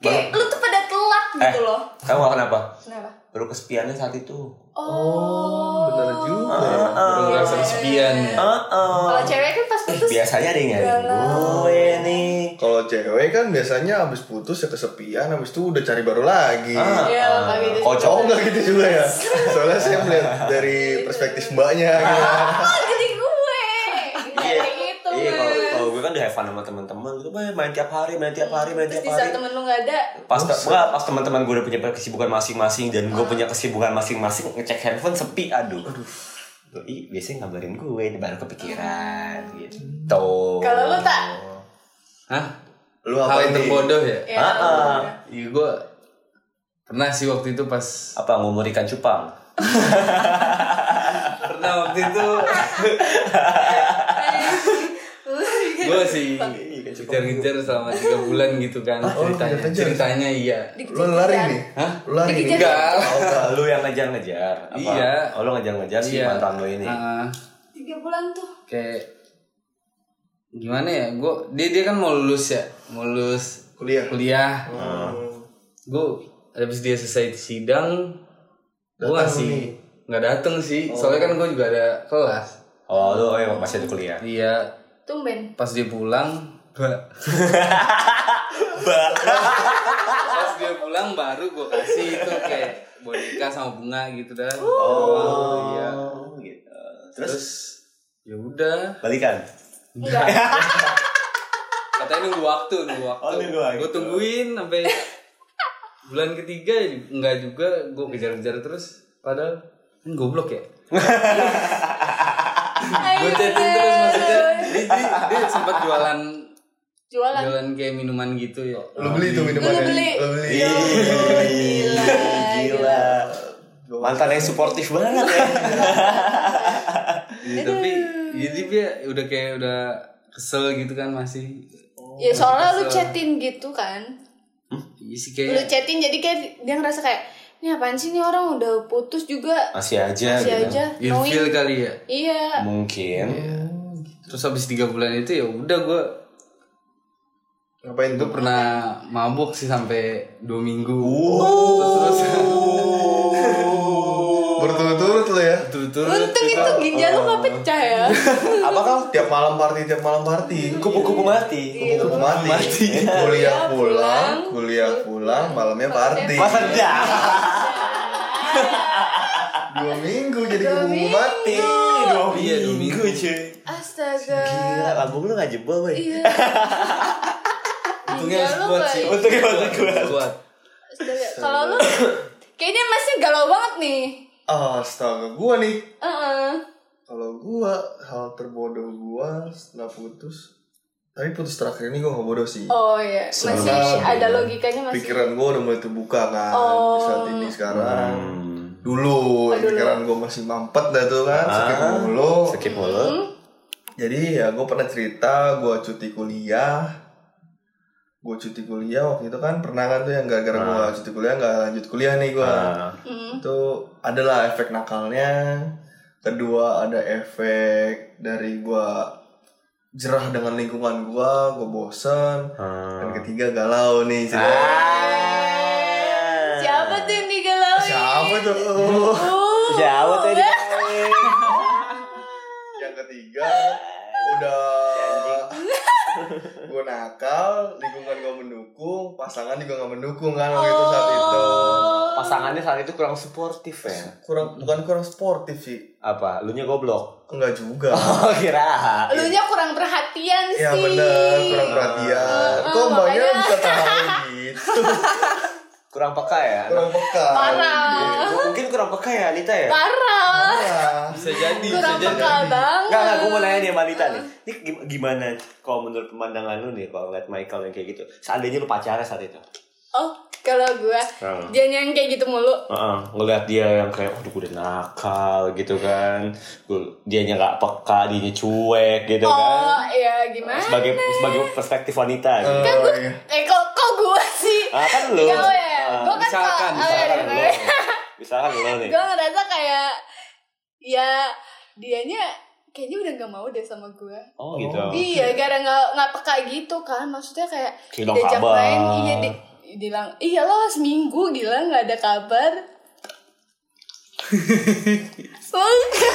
[SPEAKER 3] Kayak lu tuh pada telat
[SPEAKER 1] Eh.
[SPEAKER 3] gitu loh.
[SPEAKER 1] Kamu gak kenapa?
[SPEAKER 3] Kenapa?
[SPEAKER 1] Baru kesepiannya saat itu.
[SPEAKER 3] Oh.
[SPEAKER 2] Bener juga
[SPEAKER 4] Ah,
[SPEAKER 2] ya.
[SPEAKER 4] Baru ngerasa kesepian ya.
[SPEAKER 3] Kalau cewek kan pas putus
[SPEAKER 1] Biasanya ada yang nyariin gue nih.
[SPEAKER 2] Kalau cewek kan biasanya abis putus ya kesepian, abis itu udah cari baru lagi.
[SPEAKER 4] Ah.
[SPEAKER 3] Iya,
[SPEAKER 1] Ah.
[SPEAKER 3] tapi itu
[SPEAKER 1] Kocok.
[SPEAKER 2] Cowok nggak gitu juga ya? Soalnya saya melihat dari perspektif mbaknya. gitu.
[SPEAKER 3] Oh, jadi gue. Kayak gitu.
[SPEAKER 1] Iya, kalau
[SPEAKER 3] Mas.
[SPEAKER 1] kalau gue kan udah have fun sama teman-teman gitu, "Wah, main tiap hari, main tiap hari, main
[SPEAKER 3] Terus
[SPEAKER 1] tiap
[SPEAKER 3] di saat
[SPEAKER 1] hari.
[SPEAKER 3] temen lu nggak ada,
[SPEAKER 1] Pas enggak, pas teman-teman gue udah punya kesibukan masing-masing dan gue punya kesibukan masing-masing ngecek handphone sepi, aduh. Tuh, Ih, biasanya ngabarin gue ini baru kepikiran gitu.
[SPEAKER 3] Ah. Kalau
[SPEAKER 1] Oh.
[SPEAKER 3] lu tak?
[SPEAKER 4] Hah?
[SPEAKER 2] Lu
[SPEAKER 4] Hal
[SPEAKER 2] apa ini?
[SPEAKER 4] terbodoh ya?
[SPEAKER 3] ya.
[SPEAKER 1] Ah, ah.
[SPEAKER 4] Iya gue pernah sih waktu itu pas
[SPEAKER 1] Apa ngumur ikan cupang?
[SPEAKER 4] pernah waktu itu
[SPEAKER 2] <laughs>
[SPEAKER 4] gue sih kejar-kejar selama tiga bulan gitu kan
[SPEAKER 2] Oh,
[SPEAKER 4] ceritanya
[SPEAKER 2] kejar-kejar?
[SPEAKER 4] ceritanya iya
[SPEAKER 2] Lu lari nih?
[SPEAKER 4] Hah?
[SPEAKER 2] Lu lari nih?
[SPEAKER 3] Dikejar.
[SPEAKER 4] enggak
[SPEAKER 1] Oh, enggak, lu yang ngejar-ngejar. Apa?
[SPEAKER 4] Iya.
[SPEAKER 1] Oh, lu ngejar-ngejar si
[SPEAKER 4] Iya.
[SPEAKER 1] mantan lu ini.
[SPEAKER 4] Ah,
[SPEAKER 3] Tiga bulan tuh.
[SPEAKER 4] kayak gimana ya gue dia dia kan mau lulus ya mau lulus
[SPEAKER 2] kuliah.
[SPEAKER 4] kuliah
[SPEAKER 2] Hmm.
[SPEAKER 4] gue habis dia selesai sidang gue
[SPEAKER 2] Datang nih. Oh.
[SPEAKER 4] masih nggak dateng sih soalnya kan gue juga ada kelas
[SPEAKER 1] Oh, lu oh, emang masih ada kuliah.
[SPEAKER 4] iya
[SPEAKER 3] Tumben.
[SPEAKER 4] pas dia pulang <laughs> ba- pas dia pulang baru gue kasih itu kayak boneka sama bunga gitu dah
[SPEAKER 1] Oh, iya. Gitu. Terus,
[SPEAKER 4] terus ya udah
[SPEAKER 1] balikan.
[SPEAKER 3] Enggak.
[SPEAKER 4] katanya nunggu waktu nunggu waktu,
[SPEAKER 1] Oh, nunggu waktu.
[SPEAKER 4] gue tungguin sampai bulan ketiga ya enggak juga gue kejar-kejar terus padahal kan goblok ya gue
[SPEAKER 3] Ayo, bener.
[SPEAKER 4] chatting Ah, terus maksudnya dia, dia, dia sempat jualan
[SPEAKER 3] Jualan.
[SPEAKER 4] jualan kayak minuman gitu ya
[SPEAKER 2] Lu beli tuh minumannya.
[SPEAKER 3] Lu beli.
[SPEAKER 2] Lu beli.
[SPEAKER 4] Iya.
[SPEAKER 3] Ya Allah, gila.
[SPEAKER 1] Gila. Mantan yang suportif banget ya.
[SPEAKER 4] Iya, tapi jadi dia udah kayak udah kesel gitu kan masih Oh,
[SPEAKER 3] Ya soalnya lu chatin gitu kan.
[SPEAKER 4] Iya sih
[SPEAKER 3] Lu
[SPEAKER 4] kayak
[SPEAKER 3] chatin jadi kayak dia ngerasa kayak ini apaan sih nih orang udah putus juga
[SPEAKER 4] Ah,
[SPEAKER 1] Masih aja
[SPEAKER 4] iya.
[SPEAKER 3] masih
[SPEAKER 1] gitu.
[SPEAKER 3] aja
[SPEAKER 4] ilfil
[SPEAKER 3] knowing.
[SPEAKER 4] kali ya
[SPEAKER 3] Iya.
[SPEAKER 1] Mungkin.
[SPEAKER 4] terus habis tiga bulan itu ya udah gue
[SPEAKER 2] Ngapain tuh?
[SPEAKER 4] gue pernah mabuk sih sampai dua minggu terus
[SPEAKER 2] Berturut-turut lu ya.
[SPEAKER 4] terus turut
[SPEAKER 3] Untung itu ginjal lu gak pecah
[SPEAKER 4] <laughs>
[SPEAKER 3] ya.
[SPEAKER 1] Apakah
[SPEAKER 2] Tiap malam party, tiap malam party.
[SPEAKER 3] Iya.
[SPEAKER 1] kupu-kupu Oh, mati?
[SPEAKER 2] Kupu-kupu mati. Eh, Kuliah
[SPEAKER 3] Kuliah
[SPEAKER 2] pulang,
[SPEAKER 3] Iya, pulang.
[SPEAKER 2] kuliah pulang, malamnya party.
[SPEAKER 1] Masa dah?
[SPEAKER 2] Dua minggu jadi
[SPEAKER 3] Dua
[SPEAKER 2] kupu-kupu
[SPEAKER 3] minggu.
[SPEAKER 2] mati.
[SPEAKER 1] Oh, Dua
[SPEAKER 4] Iya, dua minggu.
[SPEAKER 1] cuy.
[SPEAKER 3] Astaga.
[SPEAKER 1] Gila, lambung lu gak jebol, boy.
[SPEAKER 3] Iya.
[SPEAKER 4] untungnya
[SPEAKER 3] Ginjal
[SPEAKER 4] harus
[SPEAKER 3] lu
[SPEAKER 4] kuat
[SPEAKER 3] gak-
[SPEAKER 4] sih
[SPEAKER 1] Untungnya masih kuat.
[SPEAKER 4] kuat
[SPEAKER 3] Astaga. Kalau lu kayaknya masih galau banget nih.
[SPEAKER 2] Astaga, gua nih.
[SPEAKER 3] Heeh.
[SPEAKER 2] Kalau gua hal terbodoh gua setelah putus. Tapi putus terakhir ini gua gak bodoh sih.
[SPEAKER 3] Oh iya, masih
[SPEAKER 2] Sebenarnya
[SPEAKER 3] ada logikanya masih.
[SPEAKER 2] Pikiran gua udah mulai terbuka kan.
[SPEAKER 3] Oh.
[SPEAKER 2] Di saat ini sekarang.
[SPEAKER 1] Hmm.
[SPEAKER 2] Dulu,
[SPEAKER 3] Oh, dulu.
[SPEAKER 2] pikiran gua masih mampet dah tuh kan.
[SPEAKER 1] Ah.
[SPEAKER 2] Sakit mulu.
[SPEAKER 1] Skip mulu.
[SPEAKER 3] Hmm?
[SPEAKER 2] Jadi ya gue pernah cerita gue cuti kuliah Gue cuti kuliah waktu itu kan pernah kan tuh yang gara-gara gue cuti kuliah nggak lanjut kuliah nih gue
[SPEAKER 1] Ah.
[SPEAKER 3] Hmm.
[SPEAKER 2] Itu adalah efek nakalnya Kedua ada efek dari gue jerah dengan lingkungan gue Gue bosen
[SPEAKER 1] ah. Kan
[SPEAKER 2] Dan ketiga galau nih ceritanya.
[SPEAKER 3] Siapa tuh yang digalauin?
[SPEAKER 2] Siapa tuh?
[SPEAKER 3] Uh,
[SPEAKER 1] Jauh tadi.
[SPEAKER 2] yang ketiga udah gue nakal lingkungan gue mendukung pasangan juga nggak mendukung kan waktu
[SPEAKER 3] Oh.
[SPEAKER 2] itu saat itu
[SPEAKER 1] <laughs> Pasangannya saat itu kurang suportif ya.
[SPEAKER 2] kurang bukan kurang sportif sih
[SPEAKER 1] Apa? Lu nya goblok.
[SPEAKER 2] enggak juga
[SPEAKER 1] Oh, kira.
[SPEAKER 3] Lu nya kurang perhatian
[SPEAKER 2] ya
[SPEAKER 3] sih.
[SPEAKER 2] bener kurang perhatian
[SPEAKER 3] Eh,
[SPEAKER 2] kok mbaknya
[SPEAKER 3] makanya.
[SPEAKER 2] bisa tahu gitu
[SPEAKER 1] Kurang peka ya.
[SPEAKER 2] kurang peka
[SPEAKER 3] Parah.
[SPEAKER 1] Mungkin kurang peka ya Anita ya.
[SPEAKER 3] Parah.
[SPEAKER 2] Parah.
[SPEAKER 4] bisa jadi bisa
[SPEAKER 3] Kurang
[SPEAKER 4] jadi
[SPEAKER 3] peka banget.
[SPEAKER 1] Enggak, enggak, gue mau nanya nih sama Anita nih Ini gim- gimana kalau menurut pemandangan lu nih Kalau liat Michael yang kayak gitu Seandainya lu pacaran saat itu
[SPEAKER 3] Oh, kalau gua
[SPEAKER 1] Hmm.
[SPEAKER 3] dia yang kayak gitu mulu.
[SPEAKER 1] Heeh, ngeliat dia yang kayak aduh gue udah nakal gitu kan Gua- dianya nggak peka dianya cuek gitu kan
[SPEAKER 3] Oh, ya gimana?
[SPEAKER 1] sebagai sebagai perspektif wanita gitu.
[SPEAKER 2] Eh, iya.
[SPEAKER 3] Eh kok kok gua sih?
[SPEAKER 1] Ah, kan lu
[SPEAKER 3] Galau ya.
[SPEAKER 1] Ah,
[SPEAKER 3] Gua kan
[SPEAKER 4] misalkan,
[SPEAKER 3] kalau- oh, iya,
[SPEAKER 1] misalkan lu
[SPEAKER 3] iya.
[SPEAKER 1] misalkan lu nih
[SPEAKER 3] gue ngerasa kayak ya dianya kayaknya udah nggak mau deh sama gue
[SPEAKER 1] oh gitu
[SPEAKER 3] iya gara nggak nggak peka gitu kan maksudnya kayak
[SPEAKER 1] Hilang
[SPEAKER 3] diajak
[SPEAKER 1] kabar.
[SPEAKER 3] main iya di bilang iya lo seminggu gila nggak ada kabar Oke.